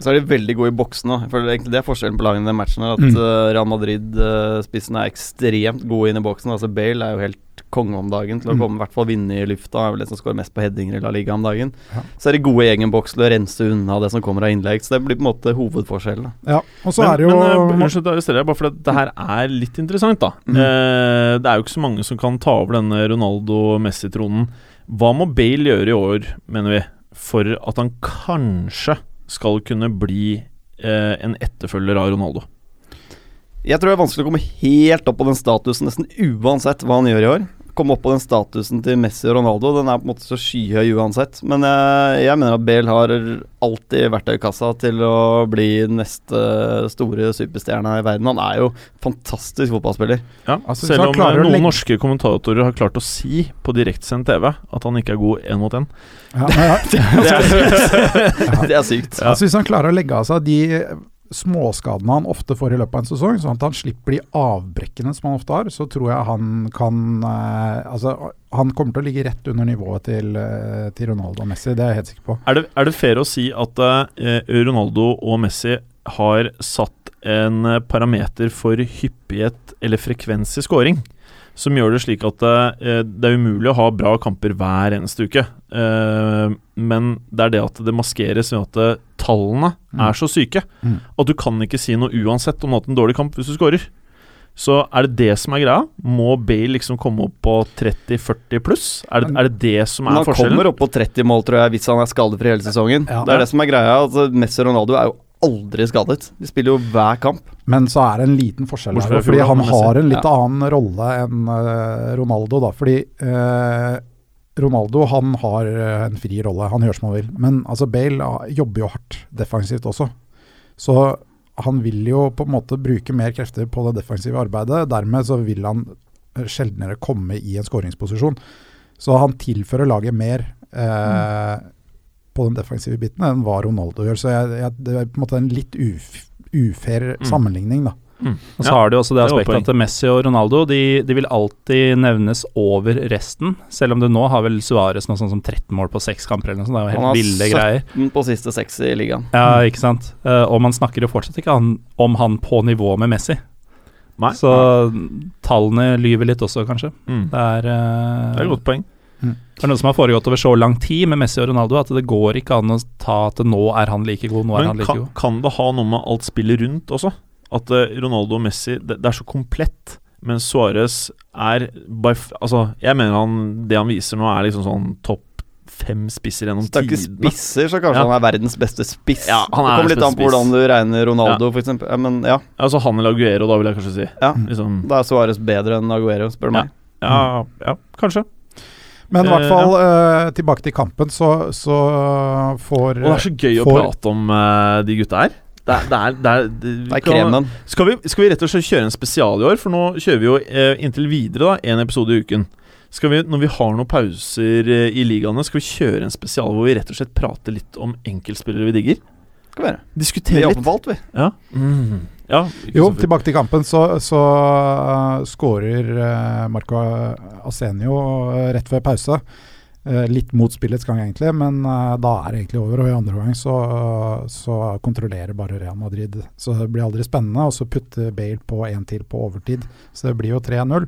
F: Så er de veldig gode i boksen òg. Det er forskjellen på lagene i den matchen. her, At
D: Mm.
F: eh, Real Madrid-spissene er ekstremt gode inn i boksen. Altså Bale er jo helt konge om dagen til å
D: Mm.
F: komme, i hvert fall vinne i lufta. Er vel den som skårer mest på headinger i La Liga om dagen.
D: Ja.
F: Så er de gode i egen boks til å rense unna det som kommer av innlegg. Så det blir på en måte hovedforskjellen. da.
D: Ja, og så
C: men,
D: er det jo Mm.
C: men, eh, Unnskyld, da arresterer jeg, bare fordi det her er litt interessant, da.
F: Mhm.
C: Eh, det er jo ikke så mange som kan ta over denne Ronaldo-Messi-tronen. Hva må Bale gjøre i år, mener vi, for at han kanskje skal kunne bli eh, en etterfølger av Ronaldo?
F: Jeg tror det er vanskelig å komme helt opp på den statusen, nesten uansett hva han gjør i år. Komme opp på den statusen til Messi og Ronaldo, den er på en måte så skyhøy uansett. Men jeg, jeg mener at Bale har alltid verktøykassa til å bli neste store superstjerna i verden. Han er jo fantastisk fotballspiller.
C: Ja,
D: Altså, hvis
C: Selv
D: han
C: om eh,
D: klarer å
C: noen
D: legge-
C: norske kommentatorer har klart å si på direktsendt TV at han ikke er god én
D: [LAUGHS]
C: mot én.
D: ja,
C: [LAUGHS]
D: ja, ja.
F: Det
D: [LAUGHS]
F: er, [LAUGHS] det er sykt.
D: Altså, hvis han klarer å legge av seg de eh, småskadene han ofte får i løpet av en sesong, sånn at han slipper de avbrekkene som han ofte har, så tror jeg han kan eh, Altså, han kommer til å ligge rett under nivået til, eh, til Ronaldo og Messi, det er jeg helt sikker på.
C: Er det, er det fair å si at eh, Ronaldo og Messi har satt en eh, parameter for hyppighet eller frekvens i scoring? Som gjør det slik at eh, det er umulig å ha bra kamper hver eneste uke. Eh, men det er det at det maskeres ved at eh, tallene
D: Mm.
C: er så syke
D: Mm.
C: at du kan ikke si noe uansett om du har hatt en dårlig kamp hvis du scorer. Så er det det som er greia? Må Bale liksom komme opp på 30-40 pluss? Er det, er det det som
F: Men
C: er
F: han
C: forskjellen?
F: kommer opp på 30 mål, tror jeg, hvis han er skadefri hele sesongen.
D: Ja.
F: Det er det som er greia. Altså, Messi og Ronaldo er jo aldri skadet. De spiller jo hver kamp.
D: Men så er det en liten forskjell
C: Bortsett
D: her,
C: fra
D: fordi
C: fjor, da,
D: han
C: men Messi.
D: har en litt annen rolle enn eh, Ronaldo, da. Fordi eh, Ronaldo han har eh, en fri rolle, han gjør som han vil. Men altså, Bale ah, jobber jo hardt defensivt også. Så han vil jo på en måte bruke mer krefter på det defensive arbeidet. Dermed så vil han eh, sjeldnere komme i en skåringsposisjon. Så han tilfører laget mer eh,
C: Mm.
D: på den defensive biten enn hva Ronaldo gjør. Så jeg, jeg, det er på en måte en litt uf, ufair
C: Mm.
D: sammenligning, da.
C: Mm.
E: Og så har de jo også det
C: det er
E: aspektet
C: godt
E: at Messi og Ronaldo de, de vil alltid nevnes over resten, selv om det nå har vel Suárez noe sånn som 13 mål på seks kamper eller noe sånt. Det er jo
F: Han har
E: helt ville
F: 17.
E: greier.
F: På siste seks i ligaen.
E: Ja,
C: Mm.
E: ikke sant. Eh, og man snakker jo fortsatt ikke han, om han på nivå med Messi.
C: Nei.
E: Så tallene lyver litt også, kanskje.
C: Mm.
E: Det er, eh,
C: Det er et godt poeng.
E: det er noe som har foregått over så lang tid med Messi og Ronaldo, at det går ikke an å ta at nå er han like god, nå er
C: Men
E: han like
C: kan,
E: god.
C: kan det ha noe med alt spillet rundt også? At eh, Ronaldo og Messi det, det er så komplett, mens Suárez er by, f- Altså, jeg mener han Det han viser nå, er liksom sånn topp fem spisser gjennom
F: Snakker
C: tidene.
F: spisser, så kanskje
C: Ja.
F: han er verdens beste spiss.
C: Ja, han
F: det
C: er
F: kommer litt
C: verdens
F: an på
C: beste
F: hvordan du regner Ronaldo, for eksempel Ja, men ja,
C: Altså han eller Aguero, da, vil jeg kanskje si.
F: Ja.
C: Liksom,
F: da er Suárez bedre enn Aguero, spør du meg.
C: ja, ja kanskje.
D: Men i
C: Eh,
D: hvert fall, eh, tilbake til kampen, så, så får
C: Og det er så gøy å
D: For-
C: prate om eh, de gutta her. Det er, det er, det er, det-
F: Det er
C: kan-
F: kremen.
C: Skal vi, skal vi rett og slett kjøre en spesial i år? For nå kjører vi jo eh, inntil videre da, en episode i uken. Skal vi, Når vi har noen pauser eh, i ligaene, skal vi kjøre en spesial hvor vi rett og slett prater litt om enkeltspillere vi digger?
F: Skal være. Vi
C: Diskutere
F: jobber
C: litt?
F: på alt, vi.
C: Ja. Mm. ja ikke
D: Jo,
C: så fort.
D: tilbake til kampen, så, så eh, skårer eh, Marco Asenio eh, rett før pause. Eh, litt mot spillets gang, egentlig, men eh, da er det egentlig over. Og i andre omgang så, så kontrollerer bare Real Madrid. Så det blir aldri spennende. Og så putter Bale på en til på overtid, så det blir jo 3-0.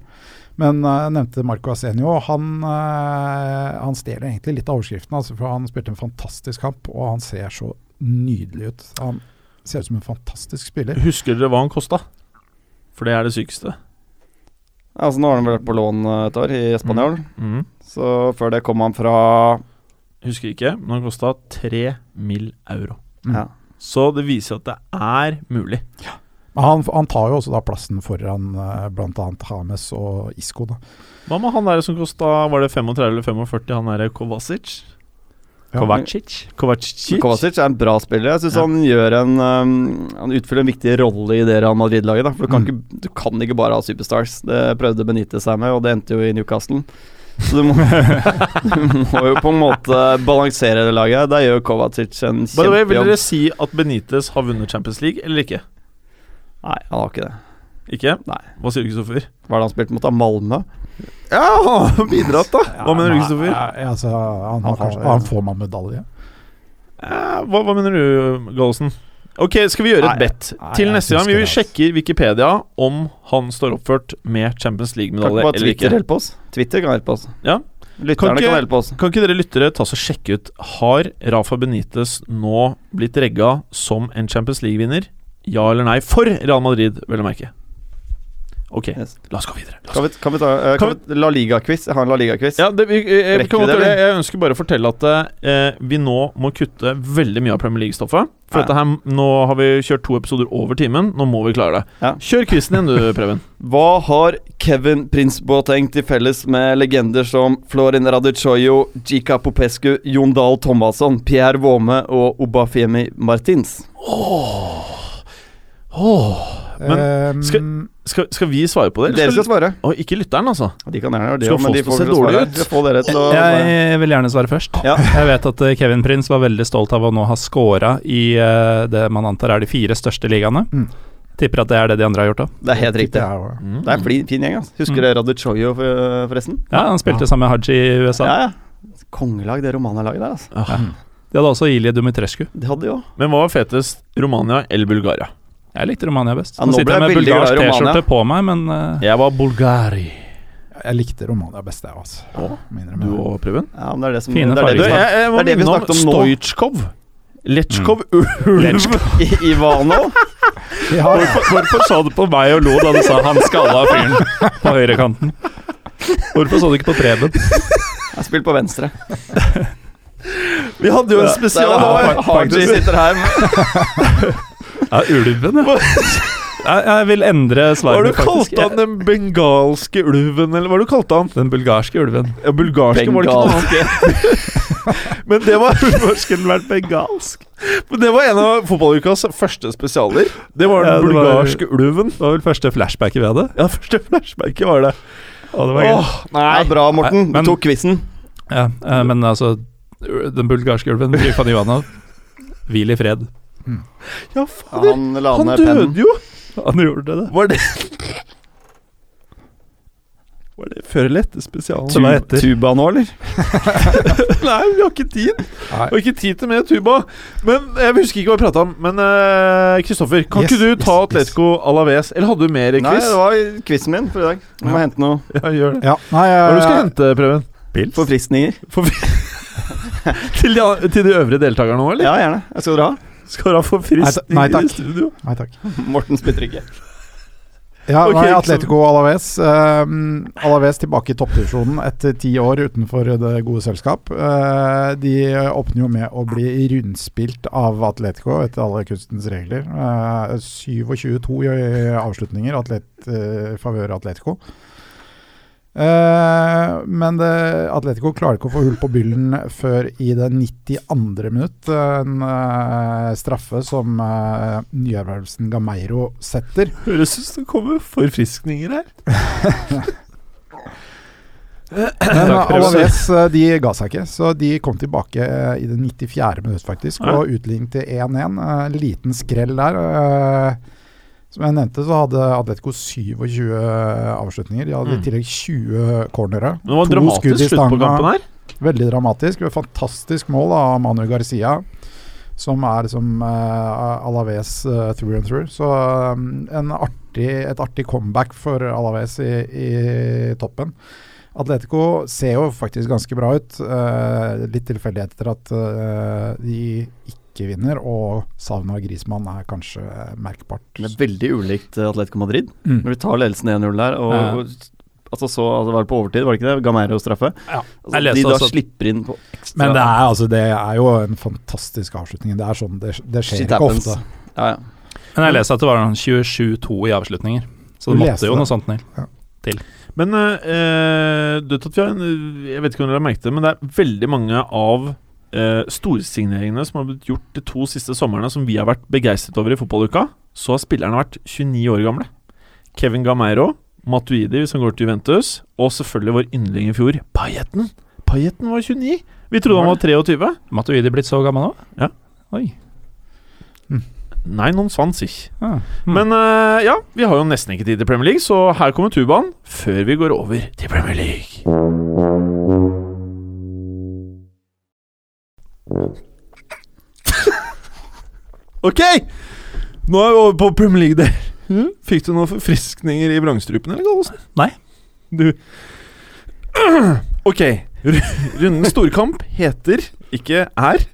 D: Men eh, jeg nevnte Marco Asenio. Han, eh, han stjeler egentlig litt av overskriften, altså, for han spilte en fantastisk kamp, og han ser så nydelig ut. Han ser ut som en fantastisk spiller.
C: Husker dere hva han kosta? For det er det sykeste.
F: Altså, nå har han vært på lån eh, et år, i Spanjol.
C: Mm.
F: Så før det kom han fra
C: Husker ikke, men han kosta tre mill. euro.
D: Mm.
F: Ja.
C: Så det viser at det er mulig.
D: Men Han, han tar jo også da plassen foran eh, blant annet Hames og Isco. da.
C: Hva med han der som kosta Var det 35 eller 45, han derre Kovacic?
D: Ja.
C: Kovacic? Kovacic?
F: Kovacic er en bra spiller. Jeg syns
C: Ja.
F: han gjør en um, Han utfyller en viktig rolle i det Real Madrid-laget. da, For du kan,
D: Mm.
F: ikke, du kan ikke bare ha superstars. Det prøvde Benite seg med, og det endte jo i Newcastle. Så du må, [LAUGHS] du må jo på en måte balansere det laget. Der gjør Kovacic en
C: By the way, vil
F: kjempejobb.
C: dere si at Benitez har vunnet Champions League, eller ikke?
F: Nei, han har ikke det.
C: Ikke?
F: Nei.
C: Hva sier du, Kristoffer?
F: Hva er det han spilte mot? da? Malmö? Ja, [LAUGHS] han har bidratt, da!
C: Hva mener du,
D: Nei,
C: Kristoffer?
D: ja, altså, han,
F: Han
D: han,
F: kanskje-
D: han får man medalje.
C: Eh, Hva, hva mener du, Gallosen? Ok, skal vi gjøre
F: Nei,
C: et bet?
D: nei,
C: Til
D: jeg
C: neste gang vi
D: husker det, altså.
C: sjekker Wikipedia om han står oppført med Champions
F: Kan ikke
C: League-medalje
F: bare
C: eller
F: Twitter
C: ikke.
F: hjelpe oss? Twitter kan hjelpe oss.
C: Ja. Kan
F: Lytterne
C: ikke-
F: kan hjelpe oss.
C: Kan ikke dere lyttere ta så sjekke ut Har Rafa Benitez nå blitt regga som en Champions League-vinner? Ja eller nei? For Real Madrid, vel å merke. Ok,
F: Yes.
C: la oss gå videre. La oss
F: Kan vi, kan vi ta eh,
C: Kan
F: kan vi, La Liga-quiz? Jeg har en La Liga-quiz.
C: Ja, det, vi, eh, vi
F: Rekker
C: kan
F: vi
C: godt
F: det,
C: gjøre det.
F: eller?
C: jeg ønsker bare å fortelle at eh, vi nå må kutte veldig mye av Premier League-stoffet. For
F: Ja.
C: dette her, nå har vi kjørt to episoder over timen. Nå må vi klare det.
F: Ja.
C: Kjør quizen din, du, Preben.
F: Hva har Kevin Prince Boateng til felles med legender som Florin Radicioyo, Gika Popescu, Jon Dahl Thomasson, Pierre Våme og Obafemi Martins?
D: Men
C: skal- Skal, skal vi svare på det?
F: Dere skal svare.
C: Å, ikke lytteren, altså.
F: De kan gjerne gjøre det,
C: Skal
F: ja, men
C: få
F: de
C: oss til å
F: får
C: se
F: vel svare.
C: dårlig ut?
F: Jeg får dere til å svare.
E: Jeg vil gjerne svare først.
F: Ja.
E: Jeg vet at eh, Kevin Prince var veldig stolt av å nå ha scora i eh, det man antar er de fire største ligaene.
D: Mm.
E: Tipper at det er det de andre har gjort òg.
F: Det er helt riktig.
D: Jeg,
C: Mm.
F: Det er en flin- fin gjeng. ass Husker
E: Mm.
F: dere Radicioyo, for- forresten?
E: Ja, han spilte sammen med Haji i USA.
F: Ja, ja. Kongelag, det Romania-laget der, altså.
E: De hadde også Ilje Dumitrescu.
F: Det hadde de òg.
C: Men hva var fetest? Romania eller Bulgaria?
E: Jeg likte Romania best.
F: Ja,
E: nå
F: nå ble
E: sitter
F: jeg
E: jeg med
F: veldig glad i
E: bulgarsk
F: Romania.
E: T-skjorte på meg, men [LAUGHS] eh,
C: Jeg var Bulgari.
D: jeg likte Romania best, jeg, altså.
C: Å,
D: Mindre
C: Du og Preben?
F: Ja, men det er det som
E: Fine
F: det er det vi
C: Du,
E: farger.
C: jeg,
F: snakker-
C: jeg
F: Det
C: må
F: er det vi
C: minne om
F: snakket om nå.
C: Stojkov. Letsjkov Ulv. [LAUGHS]
F: I- Ivano?
D: Ja,
E: Hvorfor så du på meg og lo da du sa 'han skalla fyren' [LAUGHS] på høyrekanten? Hvorfor så du ikke på Preben?
F: Jeg spilte på venstre.
C: Vi hadde jo en
F: Det
C: spesial.
F: er- Haji sitter her med
E: Ja, ulven, ja. Jeg, jeg vil
C: Hva
E: endre
C: har
E: svaret
C: du kalt han den bengalske ulven, eller hva har du kalt han?
E: Den bulgarske ulven.
C: Ja, bulgarske var det ikke noe annet. Men det var [LAUGHS]
E: Skulle vært bengalsk.
C: Men det var en av fotballukas første spesialer. Det var den
E: Ja, det var-
C: bulgarske ulven.
E: Det var vel første flashbacket vi hadde.
C: Ja, første flashbacket var det.
E: Og det var gøy.
F: Åh, [LAUGHS] nei. Ja, bra, Morten.
E: Nei, men-
F: du tok quizen.
E: Ja, eh, men altså, den bulgarske ulven, Gryfan Ivanov, hvil i fred.
C: Ja,
F: Ja,
C: fader.
F: han la
C: Han
F: ned
C: døde
F: pennen.
C: jo!
E: Han gjorde det.
C: Var det [LAUGHS] Var det før eller etter spesialen?
E: Det var etter.
F: Tuba nå, eller?
C: Nei, vi har ikke tid.
D: Nei.
C: Vi har ikke tid til mer tuba. Men jeg husker ikke hva vi prata om. Men eh, Kristoffer, kan
D: Yes,
C: ikke du
D: yes,
C: ta
D: yes.
C: Atletico Alaves? Eller hadde du mer
F: Nei,
C: quiz?
F: det var quizen min for i dag. Du må hente noe
C: Ja, gjør det.
D: ja. Nei,
C: Hva er det du skal
D: jeg,
C: hente, Preben?
F: forfriskninger.
C: Til de, til de øvrige deltakerne nå, eller?
F: Ja, gjerne. Jeg skal dere ha?
C: Skal du ha forfriskning
D: Nei, ta- nei, takk.
C: i studio?
D: nei, takk.
F: Morten spytter ikke.
D: Ja,
C: Ok,
D: nei,
C: ikke
D: Atletico Alaves. ehm, Alaves tilbake i toppdivisjonen etter ti år utenfor det gode selskap. Eh, de åpner jo med å bli rundspilt av Atletico etter alle kunstens regler. Eh, 27-2 i avslutninger Atlet, eh, i favør Atletico. Eh, men det, Atletico klarer ikke å få hull på byllen før i det 92. minutt. En eh, straffe som uh, nyervervelsen Gameiro setter.
C: Høres ut som det kommer forfriskninger her.
D: Men
E: Takk, Preben.
D: Alaves eh, de ga seg ikke, så de kom tilbake eh, i det 94. minutt faktisk
C: Ja.
D: og utlignet til 1-1. Eh, Liten skrell der. eh, Som jeg nevnte, så hadde Atletico 27 eh, avslutninger. De hadde
C: Mm.
D: i tillegg 20 cornere.
C: Men det var en
D: To skudd i
C: dramatisk slutt på
D: stanga.
C: kampen her.
D: Veldig dramatisk. Et fantastisk mål av Manu Garcia, som er som eh, Alaves eh, through and through. Så eh, en artig, et artig comeback for Alaves i, i toppen. Atletico ser jo faktisk ganske bra ut. eh, litt tilfeldigheter at eh, de ikke vinner, og savnet av Grismann er kanskje eh, merkbart.
F: Det er veldig ulikt eh, Atletico Madrid.
D: Mm.
F: Når de tar ledelsen 1-0 der, og
E: Ja.
F: og- altså så altså, var det på overtid, var det ikke det? Gamero straffe.
E: Ja.
F: Altså,
E: Jeg leste
F: de da
E: også at-
F: slipper inn på ekstra
D: Men det er, altså, det er jo en fantastisk avslutning. Det er sånn, det, det skjer
F: Shit
D: ikke
F: happens.
D: ofte.
F: Ja, ja.
E: Men jeg leste at det var noen 27-2 i avslutninger, så
D: Du
E: det
D: leste
E: måtte jo
D: det.
E: noe sånt til.
C: Men eh, du vet at vi har en, Jeg vet ikke om dere har merket det, men det er veldig mange av eh, storsigneringene som har blitt gjort de to siste somrene, som vi har vært begeistret over i fotballuka, så har spillerne vært 29 år gamle. Kevin Gameiro, Matuidi, hvis han går til Juventus, og selvfølgelig vår yndling i fjor, Pajetten. Pajetten var 29. Vi trodde han var 23.
E: Matuidi blitt så gammel nå?
C: Ja.
E: Oi.
C: Nei, noen svans ikke.
E: Ah. Mm.
C: Men eh, ja, vi har jo nesten ikke tid til Premier League, så her kommer tubaen før vi går over til Premier League. [LAUGHS] Ok! Nå er vi over på Premier League der. Fikk du noen forfriskninger i vrangstrupen, eller, Gallosen?
E: Nei.
C: Du [CLEARS THROAT] Ok. Ru- Rundens storkamp heter, ikke er,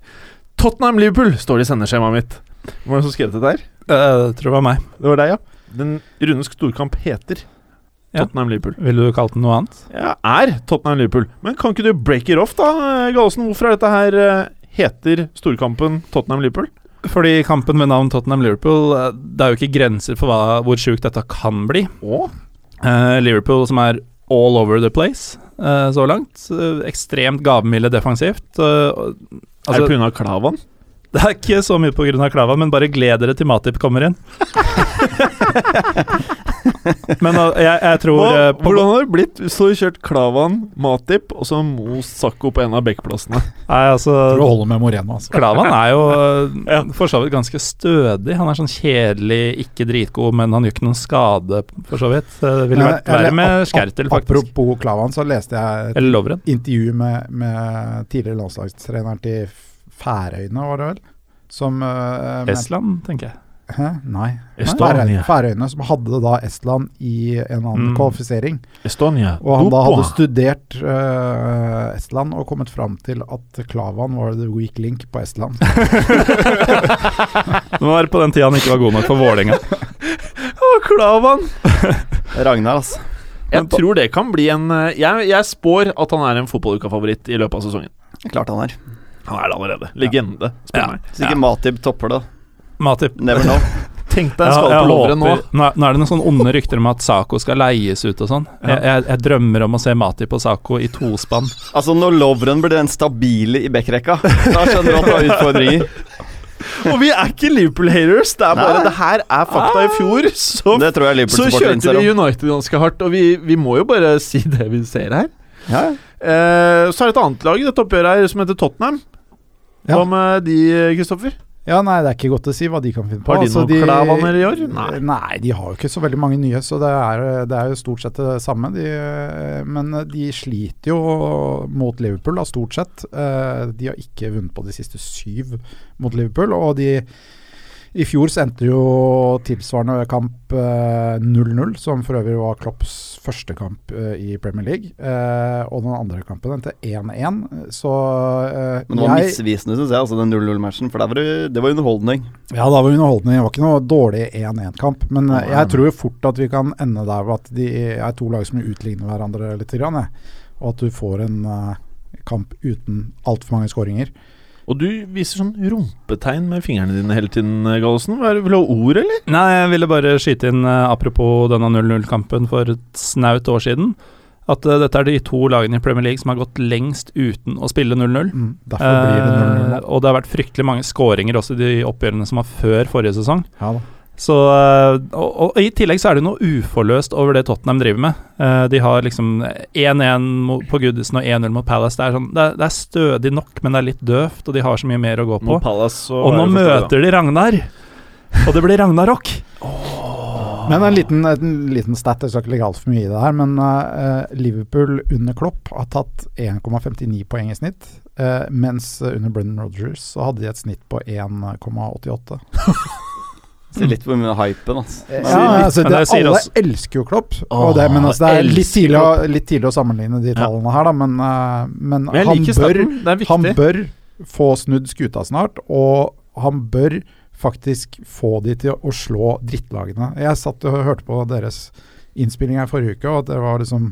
C: Tottenham-Liverpool, står det i sendeskjemaet mitt. Hvem var det som skrev dette her?
E: Eh, tror det var meg.
C: Det var deg, ja. Den rundens storkamp heter
E: Ja.
C: Tottenham-Liverpool.
E: Ville du kalt den noe annet?
C: Ja, er Tottenham-Liverpool. Men kan ikke du break it off, da, Gallosen? Hvorfor er dette her eh, heter storkampen Tottenham-Liverpool?
E: Fordi kampen med navn Tottenham-Liverpool, eh, det er jo ikke grenser for hva, hvor sjukt dette kan bli.
C: Å?
E: Eh, Liverpool som er all over the place eh, så langt. Eh, ekstremt gavmilde defensivt. eh, og-
C: er det
E: altså,
C: pga. Klavan?
E: det er ikke så mye pga. Klava, men bare gled dere til Matip kommer
C: [LAUGHS]
E: inn. men eh, jeg, jeg tror
C: Hva,
E: eh, på-
C: hvordan hadde det blitt hvis du hadde kjørt Klavan, Matip og så Mo Sakko på en av backplassene?
E: Nei,
D: Tror det
E: altså
D: holder med Moreno, altså.
E: Klavan er jo [LAUGHS] eh, for så vidt ganske stødig. Han er sånn kjedelig, ikke dritgod, men han gjør ikke noen skade, for så vidt. Eh, Det ville
D: Nei,
E: vært verre
D: eller
E: med
D: ap- ap-
E: Skertel, faktisk.
D: Apropos Klavan, så leste jeg et
E: Eller Lovren.
D: intervju med, med tidligere landslagstreneren til F- Færøyene, var det vel? Som eh, men-
E: Estland, tenker jeg.
D: Hæ? Nei.
C: Estonia.
D: Færøyene, Færøyene, som hadde da Estland i en annen
E: Mm.
D: kvalifisering.
C: Estonia. [LAUGHS]
D: Og han da hadde studert eh, Estland og kommet fram til at Klavan var the weak link på Estland.
E: [LAUGHS] Det var på den tida han ikke var god nok for Vålerenga.
C: Klavan!
F: Ragnar, altså.
C: Jeg tror det kan bli en eh, Jeg, jeg spår at han er en fotballuka-favoritt i løpet av sesongen.
F: Klart han er.
C: Han er det allerede. Legende, spør
E: Ja.
C: meg.
F: Hvis ikke Matib topper det.
E: Matip.
F: [LAUGHS] Never know.
C: Tenk deg en skade på
E: Ja, jeg
C: låret nå.
E: håper- Nå, er- nå er det noen sånne onde rykter om at Sako skal leies ut og sånn.
C: Ja.
E: Jeg, jeg, jeg drømmer om å se Matip og Sako i tospann.
F: Altså, når Lovren blir den stabile i backrekka, da skjønner du at du har utfordringer.
C: Og vi er ikke Liverpool-haters. Det er bare
F: Nei. Ah!
C: det her er fakta i fjor. Så,
F: Det tror jeg
C: så
F: Liverpool-supporteren
C: kjørte
F: innser
C: vi
F: om.
C: United ganske hardt, og vi, vi må jo bare si det vi ser her.
F: Ja, ja.
C: Eh, så er det et annet lag i dette oppgjøret her som heter Tottenham.
D: Ja.
C: Hva med de, Kristoffer?
D: Ja, nei, det er ikke godt å si hva de kan finne på.
C: Har de
D: Altså,
C: noen Klavaner i år?
D: Nei.
C: Nei.
D: de har jo ikke så veldig mange nye, så det er, det er jo stort sett det samme. De, eh, men de sliter jo mot Liverpool, da, stort sett. Eh, De har ikke vunnet på de siste syv mot Liverpool, og de i fjor så endte jo tilsvarende kamp eh, 0-0, som for øvrig var Klopps første kamp eh, i Premier League. Eh, Og den andre kampen endte 1-1, så eh,
F: Men det var
D: jeg-
F: misvisende, syns jeg, altså den 0-0-matchen. For der var det, det var underholdning.
D: Ja, det var underholdende. Det var ikke noe dårlig 1-1-kamp. Men eh, jeg tror jo fort at vi kan ende der ved at de er to lag som utligner hverandre litt. Grann, jeg. Og at du får en eh, kamp uten altfor mange skåringer.
C: Og du viser sånn rumpetegn med fingrene dine hele tiden, Gallosen. Hva er det- Vil du ha ord, eller?
E: Nei, jeg ville bare skyte inn eh, apropos denne 0-0-kampen for et snaut år siden. At eh, dette er de to lagene i Premier League som har gått lengst uten å spille 0-0.
D: Mm, derfor blir det 0-0
E: Eh,
D: nå.
E: og det har vært fryktelig mange skåringer også i de oppgjørene som var før forrige sesong.
D: Ja, da.
E: Så, eh, og, og I tillegg så er det noe uforløst over det Tottenham driver med. Eh, De har liksom 1-1 mot- på Goodison og 1-0 mot Palace. Det er, sånn, det, er, det er stødig nok, men det er litt døvt, og de har så mye mer å gå på. Og nå møter de Ragnar, og det blir Ragnarok!
D: Men en liten, en liten stat, jeg skal ikke legge altfor mye i det her, men eh, Liverpool under Klopp har tatt 1,59 poeng i snitt. eh, mens eh, under Brendan Rodgers så hadde de et snitt på 1,88.
F: Ser litt på mye av hypen, altså.
D: Ja, altså,
E: men
D: det,
E: jeg Eh, sier
D: alle
E: også-
D: elsker jo Klopp, og det, men altså, det er litt
C: elsker
D: tidlig, å, litt tidlig å sammenligne de tallene her, da, men, eh, men,
C: Men jeg
D: han,
C: liker
D: bør,
C: starten. [LAUGHS] Det er viktig.
D: han bør få snudd skuta snart, og han bør faktisk få de til å slå drittlagene. Jeg satt og hørte på deres innspilling her forrige uke, og at dere var liksom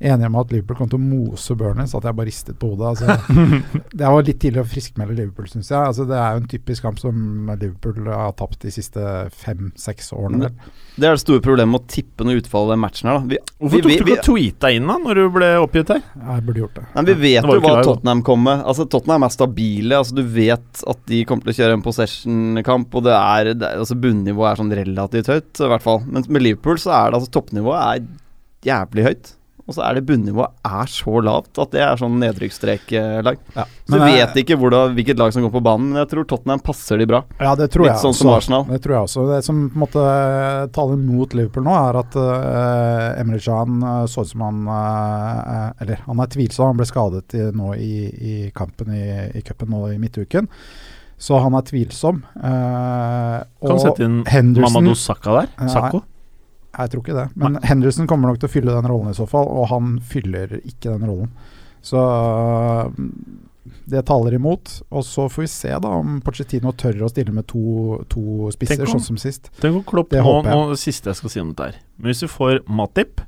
D: enige om at Liverpool kom til å mose Burnley, så at jeg bare ristet på hodet. Altså,
C: [LAUGHS]
D: det var litt tidlig å friskmelde Liverpool, syns jeg. Altså, det er jo en typisk kamp som Liverpool har tapt de siste fem-seks årene. vel.
F: Det er det store problemet med å tippe noe utfall av den matchen her, da. Vi,
C: Hvorfor tok
F: vi,
C: du
F: vi,
C: ikke og tweeta inn da når du ble oppgitt her?
D: Jeg burde gjort det.
F: Nei, men vi vet
C: Det var
F: jo
C: jo ikke
F: hva
C: live, da.
F: Tottenham kommer med. Altså, Tottenham er stabile. Altså, du vet at de kommer til å kjøre en possession-kamp, og det er, det er altså, bunnivået er sånn relativt høyt, i hvert fall. Mens med Liverpool så er det altså toppnivået er jævlig høyt. Og så er det bunnivået er så lavt at det er sånn nedrykksstreklag. Så
D: Ja.
F: du
C: eh,
D: Men, eh,
F: vet ikke hvordan, hvilket lag som går på banen, men jeg tror Tottenham passer
C: [LAUGHS]
F: de bra.
D: Ja, det tror
F: Litt
D: jeg
F: sånn som Arsenal.
D: Det tror jeg også. Det som på en måte eh, taler mot Liverpool nå, er at eh, Emre Can eh, så ut som han eh, Eller han er tvilsom, han ble skadet i, nå i, i kampen i, i cupen nå i midtuken. Så han er tvilsom. Eh,
C: Kan sette inn Mamadou Sakka der.
D: Nei.
C: Sakko.
D: Jeg tror ikke det. Men Henderson kommer nok til å fylle den rollen i så fall, og han fyller ikke den rollen. Så øh, det taler imot. Og så får vi se da om Pochettino tør å stille med to, to spisser,
C: Tenk om-
D: sånn som sist.
C: Tenk å kloppe
D: Det
C: nå,
D: håper jeg.
C: nå det siste jeg skal si om dette her. Men hvis du får Matip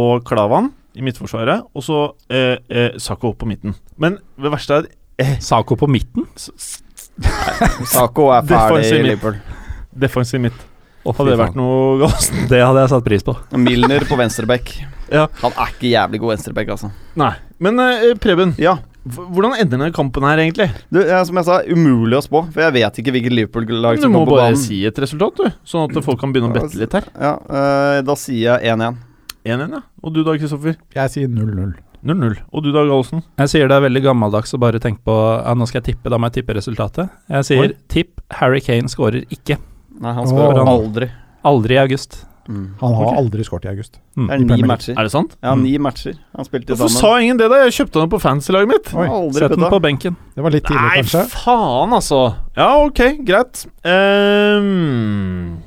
C: og Klavan i midtforsvaret, og så eh, eh, Sakko opp på midten Men det verste er
E: Sako på midten?
F: Sako er ferdig
C: Defensive
F: i
C: midt.
F: Liverpool.
C: defensiv midt.
E: Å, fy
C: Hadde det
E: faen.
C: vært noe galt? [LAUGHS]
E: Det hadde jeg satt pris på.
F: Milner på venstreback.
C: Ja.
F: Han er ikke jævlig god venstreback, altså.
C: Nei. Men eh, Preben,
F: Ja,
C: h- hvordan ender denne kampen her, egentlig?
F: du, ja, som jeg sa, umulig å spå, for jeg vet ikke hvilket Liverpool-lag
C: Du
F: som
C: må
F: kommer på
C: bare
F: banen.
C: si et resultat, du. Sånn at folk kan begynne å bette litt her.
F: Ja, eh, da sier jeg 1-1.
C: 1-1, ja. Og du da, Kristoffer?
D: Jeg sier 0-0.
C: 0-0. Og du da, Gallosen?
E: Jeg sier det er veldig gammeldags å bare tenke på ja, nå skal jeg tippe, da må jeg tippe resultatet. Jeg sier
C: Oi.
E: tipp Harry Kane skårer ikke.
F: Nei, han spør
D: Åh.
F: aldri. Mm.
E: Aldri i august. Mm.
D: Han har
C: Ok.
D: aldri skåret i august.
F: Det er
D: Premier
F: ni
D: League.
F: matcher.
C: Er det sant?
F: Ja, ni matcher. Han spilte
C: Hvorfor
F: sammen.
C: sa ingen det, da? Jeg kjøpte den på fancy-laget mitt.
D: Oi,
F: aldri
E: Sett den
F: putta.
E: på benken.
D: Det var litt tidlig,
C: Nei,
D: kanskje.
C: faen, altså. Ja, ok, greit. Ehm,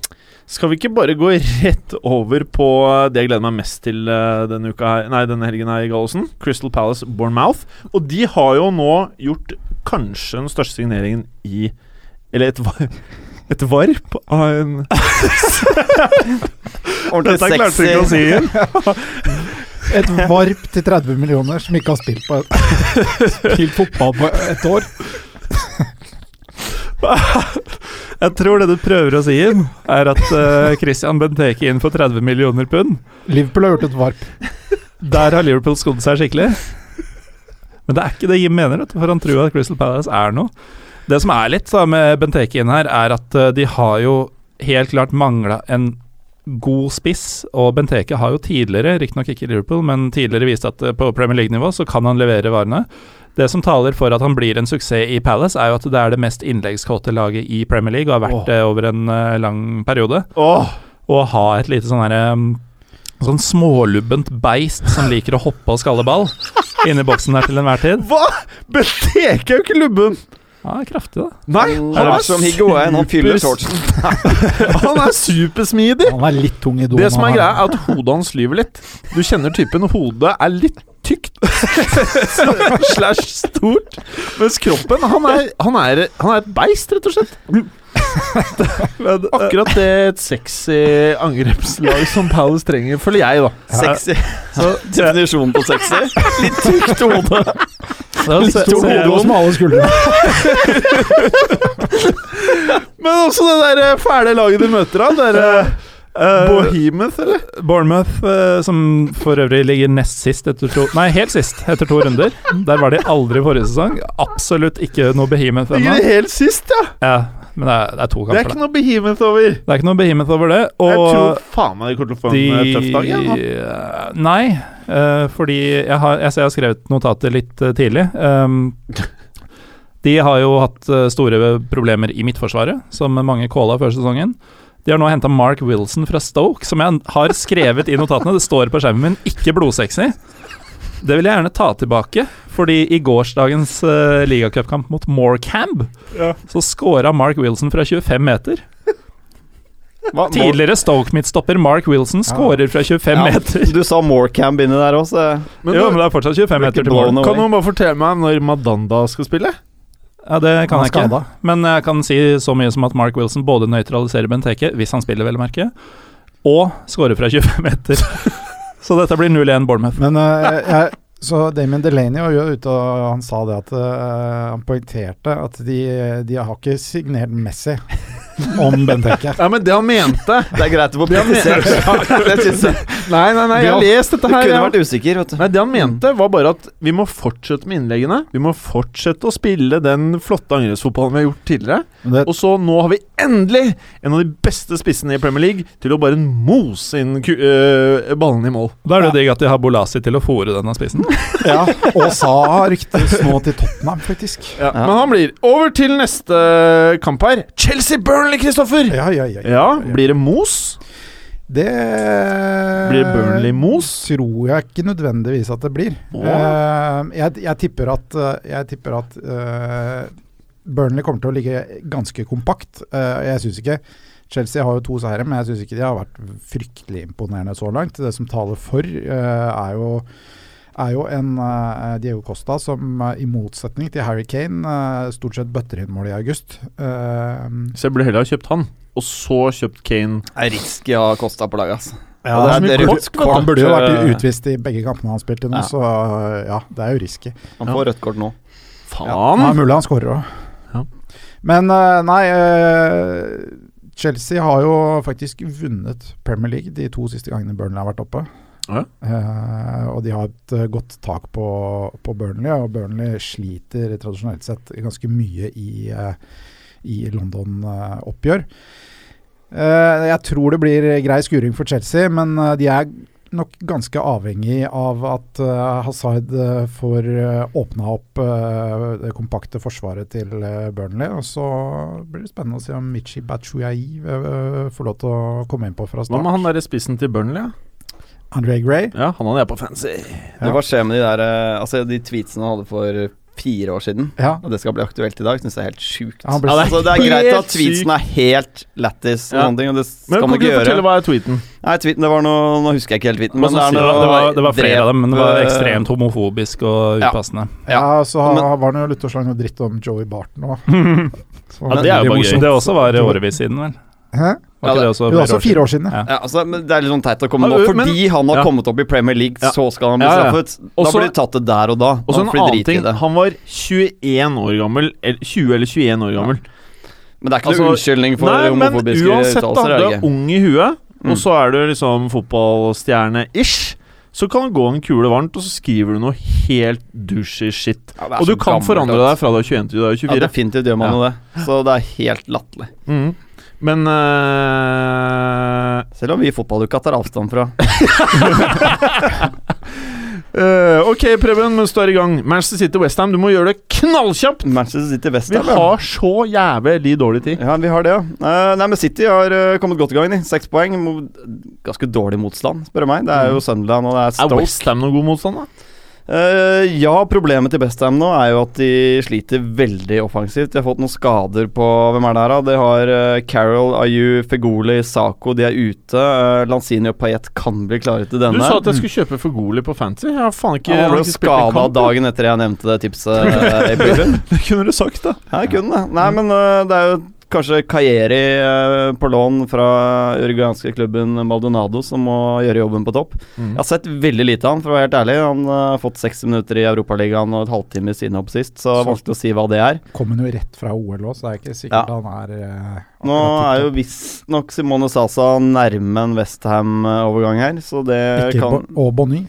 C: skal vi ikke bare gå rett over på det jeg gleder meg mest til eh, denne, uka her, nei, denne helgen her i Gallosen? Crystal Palace Bournemouth. Og de har jo nå gjort kanskje den største signeringen i Eller et, var- [LAUGHS] et varp av
F: [LAUGHS]
C: en
F: Ordentlig sexy.
C: igjen.
F: [LAUGHS]
D: Et varp til 30 millioner som ikke har spilt på
C: [LAUGHS]
D: Spilt fotball på et år.
E: Jeg tror det du prøver å si inn, er at [LAUGHS] eh, Christian Benteke inn for 30 millioner pund.
D: Liverpool har gjort et varp.
E: Der har Liverpool skodd seg skikkelig. Men det er ikke det Jim mener, vet du, for han tror at Crystal Palace er noe. Det som er litt da, med Benteke inn her, er at eh, de har jo helt klart mangla en god spiss, og Benteke har jo tidligere, riktignok ikke i Liverpool, men tidligere vist at eh, på Premier League-nivå så kan han levere varene. Det som taler for at han blir en suksess i Palace, er jo at det er det mest innleggskåte laget i Premier League, og har vært det over en eh, lang periode
C: Åh,
E: å ha et lite sånn herre Sånn smålubbent beist som liker å hoppe og skalle ball inni boksen der til enhver tid.
C: hva?! Beteke er jo ikke lubben!
E: Ja, kraftig, da.
C: Nei,
F: Mm. Han er som Higuain, han fyller
C: super-
F: shortsen.
C: [LAUGHS] Han er supersmidig!
D: Han er litt tung i doen.
C: Det som
D: han
C: er greia, er at hodet hans lyver litt. Du kjenner typen. Hodet er litt tykt [LAUGHS] slash stort. Mens kroppen, han er, han, er, han er et beist, rett og [LAUGHS] slett. Akkurat det et sexy angrepslag som Palace trenger, føler jeg, da.
F: Sexy. Så [LAUGHS] definisjonen på sexy. Litt tykt hode.
E: Så, så,
D: Stor hode og smale skuldre.
C: Men også det der eh, fæle laget de møter, da. Det der, eh, Bohemoth, eller?
E: Bournemouth, eh, som for øvrig ligger nest sist etter to Nei, helt sist etter to runder. Der var de aldri forrige sesong. Absolutt ikke noe behemoth
C: Ligger
E: ennå.
C: helt sist, ja.
E: Ja, men det er, det er to
C: Det er ikke
E: kamper, da.
C: noe Behemoth over.
E: Det er ikke noe behemoth over det.
C: Jeg tror
E: Og
C: faen meg de kommer til å få en eh, tøff dag igjen. da.
E: de Nei, eh, fordi jeg, har, jeg ser jeg har skrevet notatet litt eh, tidlig.
C: [LAUGHS]
E: Um, de har jo hatt eh, store problemer i midtforsvaret, som mange calla før sesongen. De har nå henta Mark Wilson fra Stoke, som jeg har skrevet i notatene. Det står på skjermen min, ikke blodsexy. Det vil jeg gjerne ta tilbake, fordi i gårsdagens uh, ligacupkamp mot Morecamb, så scora Mark Wilson fra 25 meter.
F: Hva? Mor-
E: Tidligere Stoke-midtstopper Mark Wilson scorer fra 25
F: Ja,
E: meter.
F: Du sa Morecamp inni der òg, så
C: Men da-
E: jo, men det er fortsatt
F: Blir
E: 25
F: ikke
E: meter til
F: blown
E: mål.
F: away.
C: Kan noen bare fortelle meg når Madanda skal spille?
E: Ja, Det kan
D: Han
E: jeg
D: er
E: ikke.
D: skada.
E: Men jeg kan si så mye som at Mark Wilson både nøytraliserer Benteke, hvis han spiller, vel å merke, og scorer fra [LAUGHS] 25 meter. så dette blir 0-1 Bournemouth.
D: Men eh, jeg, så Damien Delaney var jo ute og han sa det at eh, Han poengterte at de, de har ikke signert Messi om Benteke.
C: [LAUGHS] Ja, men det han mente
F: det er greit å få presisert. Det synes jeg.
C: Nei, nei, nei, jeg har
F: Det-
C: lest dette
F: Du
C: her.
F: kunne
C: ja.
F: vært usikker, vet du.
C: Nei, Det han mente, var bare at vi må fortsette med innleggene. Vi må fortsette å spille den flotte angrepsfotballen vi har gjort tidligere.
D: Men det,
C: Og så nå har vi endelig en av de beste spissene i Premier League til å bare mose inn ku- øh, ballene i mål.
E: Da er det digg at de har Bolasi til å fòre denne spissen.
D: ja, og sa ryktes nå til Tottenham, faktisk.
C: Ja. Men han blir over til neste kamp her. Chelsea Burnley, Kristoffer!
D: Ja, ja, ja.
C: Ja, blir det mos?
D: Det
C: Blir
D: Eh,
C: det Burnley mos?
D: Tror jeg ikke nødvendigvis at det blir.
C: Åh.
D: Eh, jeg, jeg tipper at, eh, jeg tipper at eh, Burnley kommer til å ligge ganske kompakt. eh, jeg syns ikke Chelsea har jo to seire, men jeg syns ikke de har vært fryktelig imponerende så langt. Det som taler for, eh, er jo er jo en eh, Diego Costa som eh, i motsetning til Harry Kane eh, stort sett bøtter inn mål i august. Eh,
C: Så jeg burde heller ha kjøpt han, og så kjøpt Kane.
F: Det er risky å ha Kosta på laget, altså.
D: Ja,
F: Og
D: det
F: det
D: er
F: er
D: så mye
F: rødt
D: kort, kort, han burde jo
F: kort,
D: vært
F: eh,
D: utvist i begge kampene han spilte nå,
F: Ja.
D: så eh, ja, det er jo risky.
F: Han får rødt kort nå.
C: Faen!
D: Ja, mulig han skårer òg.
C: Ja.
D: Men eh, nei eh, Chelsea har jo faktisk vunnet Premier League de to siste gangene Burnley har vært oppe.
C: Ja.
D: Eh, og de har et eh, godt tak på, på Burnley, og Burnley sliter tradisjonelt sett ganske mye i, eh, i London-oppgjør. Eh, jeg tror det blir grei skuring for Chelsea, men eh, de er nok ganske avhengig av at eh, Hazard eh, får uh, åpna opp eh, det kompakte forsvaret til eh, Burnley. Og så blir det spennende å se om Michi Batshuayi eh, får lov til å komme inn på fra
C: Hva
D: start.
C: med han derre spissen til Burnley? ja?
D: Andre Gray.
C: Ja, han hadde jeg på fancy.
D: Ja.
F: Men Hva skjer med de der eh, Altså de tweetsene han hadde for fire år siden?
D: Ja.
F: Og det skal bli aktuelt i dag, syns jeg er helt sjukt.
D: Ja, han ble-
F: det, altså, det er
C: Helt
F: greit at tweetsen er helt lættis, og
C: Ja.
F: sånne ting, og det skal
C: Men kan
F: man
C: ikke
F: ikke
C: du fortelle
F: gjøre.
C: hva er tweeten?
F: Nei, tweeten, det var noe Nå husker jeg ikke helt tweeten,
E: Det
F: men
E: var,
F: er
E: det,
F: noe
E: var, det var flere av dem, men det var
F: drep-
E: ekstremt homofobisk og
F: Ja.
E: upassende.
D: Ja,
F: Ja,
D: så
F: men-
D: har- var han jo ute og slang noe dritt om Joey Barton
E: Ja,
D: òg.
E: det er jo bare gøy. Det også var
D: Det var-
E: årevis siden, vel.
D: Hæ?
E: Var
F: Ja,
E: ikke
F: det-
E: det også
D: Det var også fire år siden.
E: Ja.
D: ja.
F: Ja, altså, men Det er litt sånn teit å komme
C: Ja,
F: nå,
C: ø, men-
F: fordi han har
C: Ja.
F: kommet opp i Premier League,
C: Ja.
F: så skal han bli
C: Ja, ja, ja.
F: straffet. Da
C: Også-
F: blir det tatt det der og da.
C: Og så
F: Da
C: en
F: får de
C: annen
F: drite i
C: ting.
F: det.
C: Han var 21 år gammel. Eller 20 eller 21 år gammel.
F: Men det er ikke noen
C: altså-
F: unnskyldning for
C: Nei, men
F: homofobiske
C: uansett, da.
F: uttalelser.
C: Du
F: er det
C: er
F: ikke?
C: ung i huet,
F: Mm.
C: og så er du liksom fotballstjerne-ish. Så kan det gå en kule varmt, og så skriver du noe helt douchey shit.
F: Ja, det er
C: Og du
F: så
C: kan
F: gammelt,
C: forandre
F: altså.
C: deg fra du er 21 til du er
F: Ja,
C: 24.
F: definitivt gjør man jo det. Så det er helt latterlig.
C: Mm. Men eh,
F: Selv om vi i fotballuka tar avstand fra
C: eh, Ok, Preben, mens du er i gang. Manchester City Westham, du må gjøre det knallkjapt!
F: Manchester City West.
C: Vi har så jævlig dårlig tid.
F: Ja, vi har det, ja. Eh, Nei, men City har eh, kommet godt i gang. de. Seks poeng. mot Ganske dårlig motstand, spør du meg. Det er
C: Mm.
F: jo Sunderland og det er
C: Er
F: Stoke.
C: Westham noen god motstand, da?
F: Eh, ja, problemet til Bestham nå er jo at de sliter veldig offensivt. De har fått noen skader på Hvem er det her, da? De har eh, Carroll, Ayu, Fegoli, Sako. De er ute. Eh, Lanzini og Payet kan bli klare til denne.
C: Du sa at jeg skulle kjøpe for Goli på Fancy. Jeg har faen ikke
F: Ja, han
C: har
F: ble
C: ikke
F: jo
C: spilt en
F: skada
C: kamp.
F: dagen etter jeg nevnte det
C: [LAUGHS]
F: tipset. eh, i byen.
C: Det kunne du sagt, da.
F: Ja, jeg kunne det. Nei, men øh, det er jo kanskje Kajeri øh, på lån fra uruguayanske klubben Maldonado som må gjøre jobben på topp.
C: Mm.
F: Jeg har sett veldig lite av han, for å være helt ærlig. Han øh, har fått 60 minutter i Europaligaen og et halvtime i Sinop sist, så,
D: Så-
F: så vanskelig å si hva det er.
D: Kom han jo rett fra OL òg, så det er ikke sikkert
F: Ja.
D: han er eh,
F: Nå
D: akkurat
F: er jo visstnok Simone Sasa nærme en Westham-overgang her, så det eh,
D: Ikke
F: kan
D: Bo- og Bonny.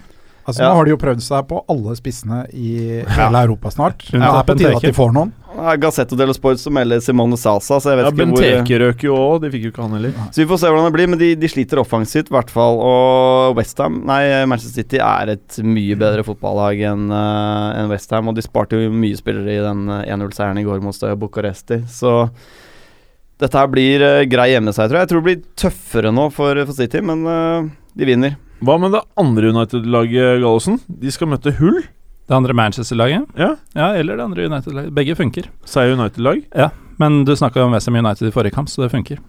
D: Altså,
F: Ja.
D: Nå har de jo prøvd seg på alle spissene i hele Europa snart.
E: Unntatt
D: det er på tide at de
E: Benteke.
D: får noen.
F: Ja, Gazzetto dello Sport som melder Simone Sasa, så jeg vet
C: Ja,
F: ikke hvor
C: Benteke røk jo òg. De fikk jo ikke han heller.
F: Så vi får se hvordan det blir, men de, de sliter offensivt i hvert fall. Og Westham Nei, Manchester City er et mye bedre fotballag enn eh, enn West Westham, og de sparte jo mye spillere i den eh, 1-0-seieren i går mot Støya Bucuresti, så dette her blir eh, grei hjemmeseier, tror jeg. Jeg tror det blir tøffere nå for, for City, men eh, de vinner.
C: Hva med det andre United-laget, Gallosen? De skal møte Hull.
E: Det andre Manchester-laget?
C: Ja.
E: ja, eller det andre United-laget. Begge funker.
C: Seier United-lag.
E: Men du snakka om Westham United i forrige kamp, så det funker.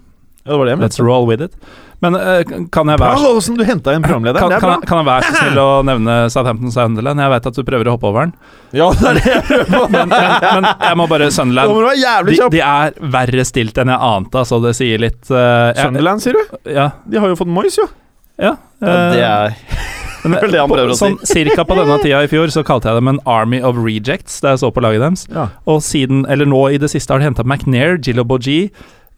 C: Ja, det var det jeg
E: Let's
C: mente.
E: roll with it. Men eh, kan jeg
C: Bra,
E: være
C: Gallosen, du henta inn programlederen.
E: kan,
C: det er
E: kan,
C: bra.
E: jeg- kan jeg være så snill å nevne Southampton Sunderland? Jeg vet at du prøver å hoppe over den,
C: Ja, [LAUGHS] det er det jeg prøver på.
E: men, men jeg må bare
C: Nå må
E: Sunderland.
C: du være jævlig
E: De,
C: kjapp.
E: de er verre stilt enn jeg ante, altså. Det sier litt eh, jeg-
C: Sunderland, sier du?
E: Ja.
C: De har jo fått Moyes, jo.
F: Ja, det
E: eh,
F: er
E: men,
F: vel [LAUGHS] det han
E: på-
F: prøver å si.
E: Sånn, cirka på denne tida i fjor så kalte jeg dem en Army of Rejects da jeg så på laget deres.
C: Ja.
E: Og siden, eller nå i det siste har de henta McNair, Gillo Bogi,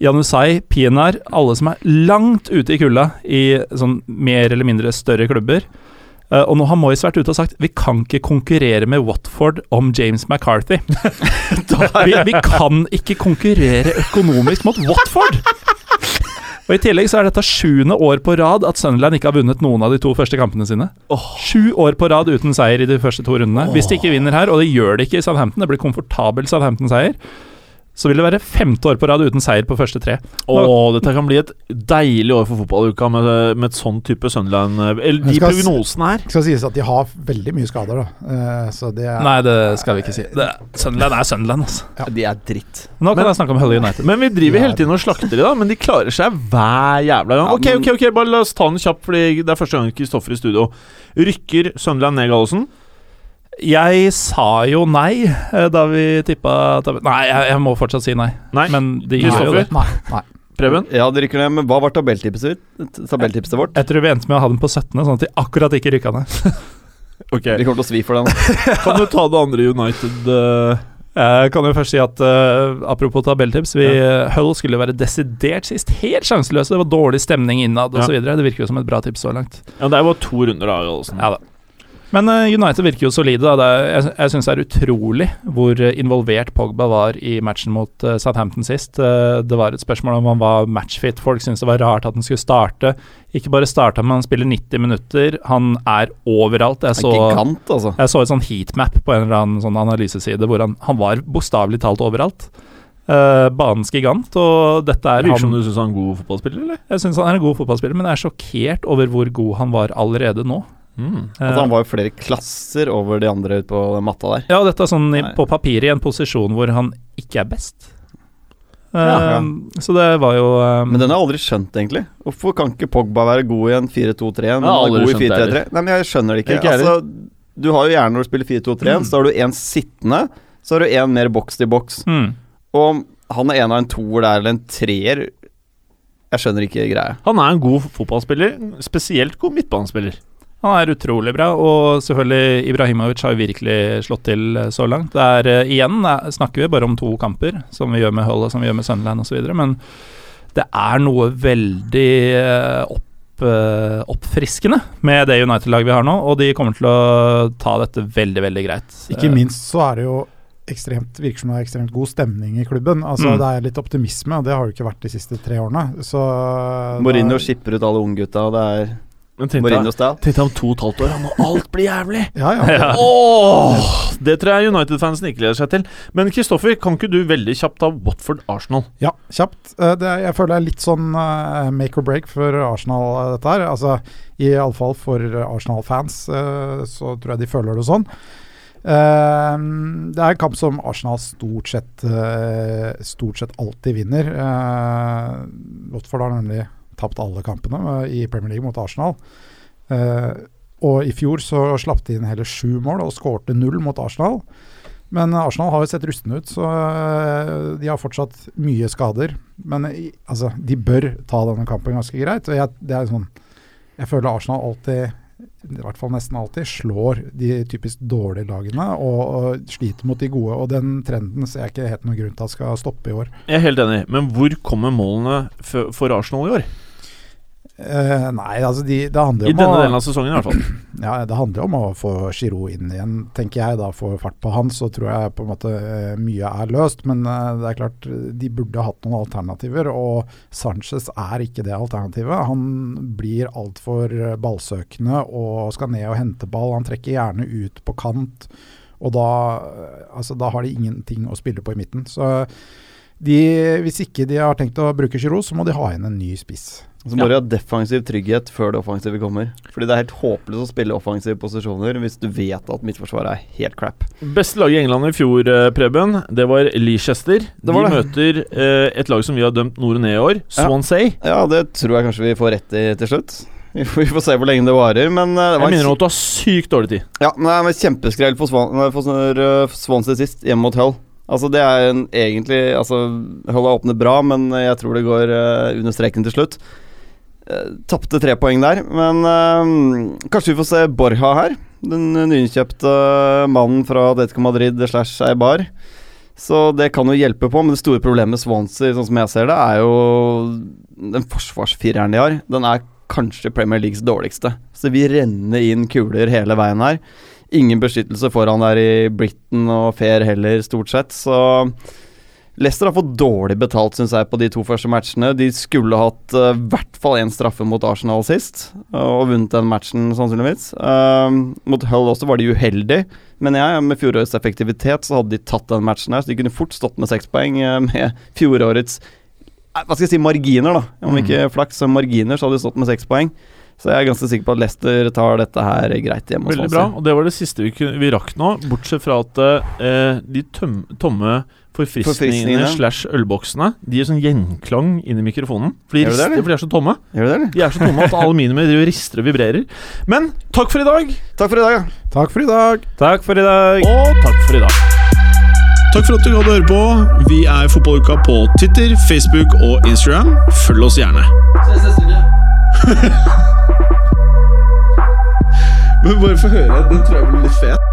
E: Janusai, Pienar Alle som er langt ute i kulda i sånn mer eller mindre større klubber. Eh, og nå har Moyes vært ute og sagt vi kan ikke konkurrere med Watford om James McCarthy. vi, vi kan ikke konkurrere økonomisk mot Watford! Og I tillegg så er dette sjuende år på rad at Sunderland ikke har vunnet noen av de to første kampene sine. Sju år på rad uten seier i de første to rundene. Hvis de ikke vinner her, og det gjør de ikke i Southampton, det blir komfortabel Southampton-seier, så vil det være femte år på rad uten seier på første tre.
C: Åh, dette kan bli et deilig år for fotballuka med, med et sånn type Sunderland Eller
D: Jeg
C: de
D: skal s-
C: prognosene her.
D: Det skal sies at de har veldig mye skader, da. Eh, så det er
E: Nei, det skal vi ikke si. Det, Sunderland er Sunderland, altså.
F: De er dritt.
E: Nå kan jeg snakke om Hull United.
C: Men vi driver hele tiden og slakter de, da. Men de klarer seg hver jævla gang.
F: Ja,
C: Ok,
F: men-
C: ok, ok, bare la oss ta den kjapp, Fordi det er første gang Kristoffer i studio. Rykker Sunderland ned Gallosen?
E: Jeg sa jo nei eh, da vi tippa tab- Nei, jeg, jeg må fortsatt si nei.
C: Nei.
E: Men de gjør jo
C: Kristoffer?
E: det.
D: Nei, nei.
C: Preben?
F: Ja, de rykker ned, men hva var tabelltipset vårt? Tabelltipset vårt?
E: Jeg tror vi endte med å ha dem på 17., sånn at de akkurat ikke rykka ned.
C: [LAUGHS] Ok.
E: Eh,
F: Vi kommer til å svi
E: [LAUGHS]
F: for den.
C: Kan du ta det andre United eh,
E: Jeg kan jo først si at eh, apropos tabelltips vi, eh, Hull skulle være desidert sist. Helt sjanseløse. Det var dårlig stemning innad
C: Ja.
E: osv. videre Det virker jo som et bra tips så langt.
C: Ja, det er bare to runder, da, Gallosen.
E: Ja da. Men eh, United virker jo solide. Da. Det er, jeg jeg syns det er utrolig hvor eh, involvert Pogba var i matchen mot eh, Southampton sist. Eh, det var et spørsmål om han var matchfit. Folk syntes det var rart at han skulle starte. Ikke bare starta, men han spiller 90 minutter. Han er overalt. Jeg
F: En
E: så
F: gigant, altså.
E: jeg så et sånn heatmap på en eller annen sånn analyseside hvor han, han var bokstavelig talt overalt. Eh, banens gigant, og dette er
C: Virker som
E: han
C: du syns han er en god fotballspiller, eller?
E: Jeg syns han er en god fotballspiller, men jeg er sjokkert over hvor god han var allerede nå. Eh,
F: Altså, han var jo flere klasser over de andre ute på den matta der.
E: ja, dette er sånn i,
F: Nei.
E: på papiret i en posisjon hvor han ikke er best. Eh,
F: Ja, ja.
E: Så det var jo eh,
F: Men den har jeg aldri skjønt, egentlig. Hvorfor kan ikke Pogba være god i en 4-2-3? Men
C: Jeg har
F: han er
C: aldri
F: god i
C: skjønt det
F: 4-3-3? Nei, men jeg skjønner det ikke.
C: Ikke Mm. jeg
F: altså, du har jo gjerne når du spiller 4-2-3-1, så har du en sittende, så har du en mer boks til boks.
E: mm.
F: Og om han er en av en toer der, eller en treer Jeg skjønner ikke greia.
C: Han er en god fotballspiller, spesielt god midtbanespiller.
E: Han er utrolig bra, og selvfølgelig Ibrahimovic har jo virkelig slått til eh, så langt. Det er, eh, igjen eh, snakker vi bare om to kamper, som vi gjør med Hull og som vi gjør med Sunderland osv., men det er noe veldig eh, opp, eh, oppfriskende med det United-laget vi har nå, og de kommer til å ta dette veldig, veldig greit.
D: Ikke
E: Eh,
D: minst så er det jo ekstremt, virker som det er ekstremt god stemning i klubben. Altså
E: Mm.
D: Det er litt optimisme, og det har det ikke vært de siste tre årene. Så eh,
F: Mourinho
D: da-
F: skipper ut alle unggutta, og det er
C: Men tenk deg-
F: Mourinho-style.
C: tenk deg om to og et halvt år, han og alt blir jævlig!
D: Ja, ja.
E: Ja.
C: [LAUGHS] Åh, det tror jeg United-fansen ikke gleder seg til. Men Kristoffer, kan ikke du veldig kjapt ta Watford-Arsenal?
D: Ja, kjapt. Eh, Det, er- jeg føler det er litt sånn eh, make or break for Arsenal, eh, dette her. Altså, Iallfall for Arsenal-fans, eh, så tror jeg de føler det sånn. Eh, det er en kamp som Arsenal stort sett, eh, stort sett alltid vinner. Uh, Watford har nemlig tapt alle kampene eh, i Premier League mot Arsenal. Eh, og i fjor så slapp de inn hele sju mål og skårte null mot Arsenal. Men Arsenal har jo sett rustne ut, så øh, de har fortsatt mye skader. Men i- altså, de bør ta denne kampen ganske greit. Og jeg, det er sånn, jeg føler Arsenal alltid, i hvert fall nesten alltid, slår de typisk dårlige lagene og, og sliter mot de gode. Og den trenden ser jeg ikke helt noen grunn til at skal stoppe i år.
C: Jeg er helt enig, men hvor kommer målene f- for Arsenal i år?
D: Eh, nei, altså de, det handler
C: I
D: jo om
C: denne
D: å-
C: delen av sesongen, i hvert fall.
D: Ja, Det handler jo om å få Giroud inn igjen, tenker jeg. da, Få fart på han, så tror jeg på en måte eh, mye er løst. Men eh, det er klart, eh, de burde hatt noen alternativer. Og Sanchez er ikke det alternativet. Han blir altfor eh, ballsøkende og skal ned og hente ball. Han trekker gjerne ut på kant, og da, eh, altså, da har de ingenting å spille på i midten. Så de, hvis ikke de har tenkt å bruke Giroud, så må de ha inn en ny spiss.
F: Så må du ha defensiv trygghet før det offensive kommer. Fordi det er helt håpløst å spille offensive posisjoner hvis du vet at midtforsvaret er helt crap.
C: Beste laget i England i fjor, eh, Preben, det var Leicester.
F: Det var
C: De
F: det.
C: møter eh, et lag som vi har dømt nord og ned i år, Swansea.
F: Ja, det tror jeg kanskje vi får rett i til slutt. [LAUGHS] Vi får vi får se hvor lenge det varer, men eh, det
C: Jeg
F: var en
C: minner om at du har sykt dårlig tid.
F: Ja, men det er en kjempeskrell for, Swan, nei, for sånn, eh, Swansea sist, hjemme mot Hull. Altså, det er en egentlig Altså, Hull har åpnet bra, men eh, jeg tror det går eh, under streken til slutt. Uh, Tapte tre poeng der, men eh, kanskje vi får se Borja her. Den nyinnkjøpte eh, mannen fra Atletico Madrid slash Eibar. Så det kan jo hjelpe på, men det store problemet med Swansea, sånn som jeg ser det, er jo den forsvarsfireren de har. Den er kanskje Premier Leagues dårligste. Så vi renner inn kuler hele veien her. Ingen beskyttelse foran der i Britain og Fair heller, stort sett. Så Leicester har fått dårlig betalt, syns jeg, på de to første matchene. De skulle hatt eh, i hvert fall én straffe mot Arsenal sist, eh, og vunnet den matchen sannsynligvis. Eh, mot Hull også var de uheldige, men jeg, med fjorårets effektivitet så hadde de tatt den matchen her, så de kunne fort stått med seks poeng eh, med fjorårets eh, Hva skal jeg si, marginer, da.
C: Mm.
F: Om ikke flaks, så marginer, så hadde de stått med seks poeng. Så jeg er ganske sikker på at Leicester tar dette her greit hjemme. hos
C: Veldig bra.
F: Swansea.
C: Og det var det siste vi, kunne, vi rakk nå, bortsett fra at eh, de tøm, tomme forfriskningene
F: Forfriskningene.
C: slash ølboksene De gir sånn gjenklang inn i mikrofonen. For de
F: Gjør det det,
C: rister,
F: eller?
C: for de er så tomme.
F: Gjør du det, eller?
C: De er så tomme at aluminiumet driver og rister og vibrerer. Men takk for i dag!
F: Takk for i dag, ja.
D: Takk for i dag.
E: Takk for i dag.
C: Og takk for i dag.
A: Takk for at du gadd å høre på. Vi er Fotballuka på Twitter, Facebook og Instagram. Følg oss gjerne.
B: Ses neste uke.
A: Men bare få høre. Den tror jeg blir litt fet.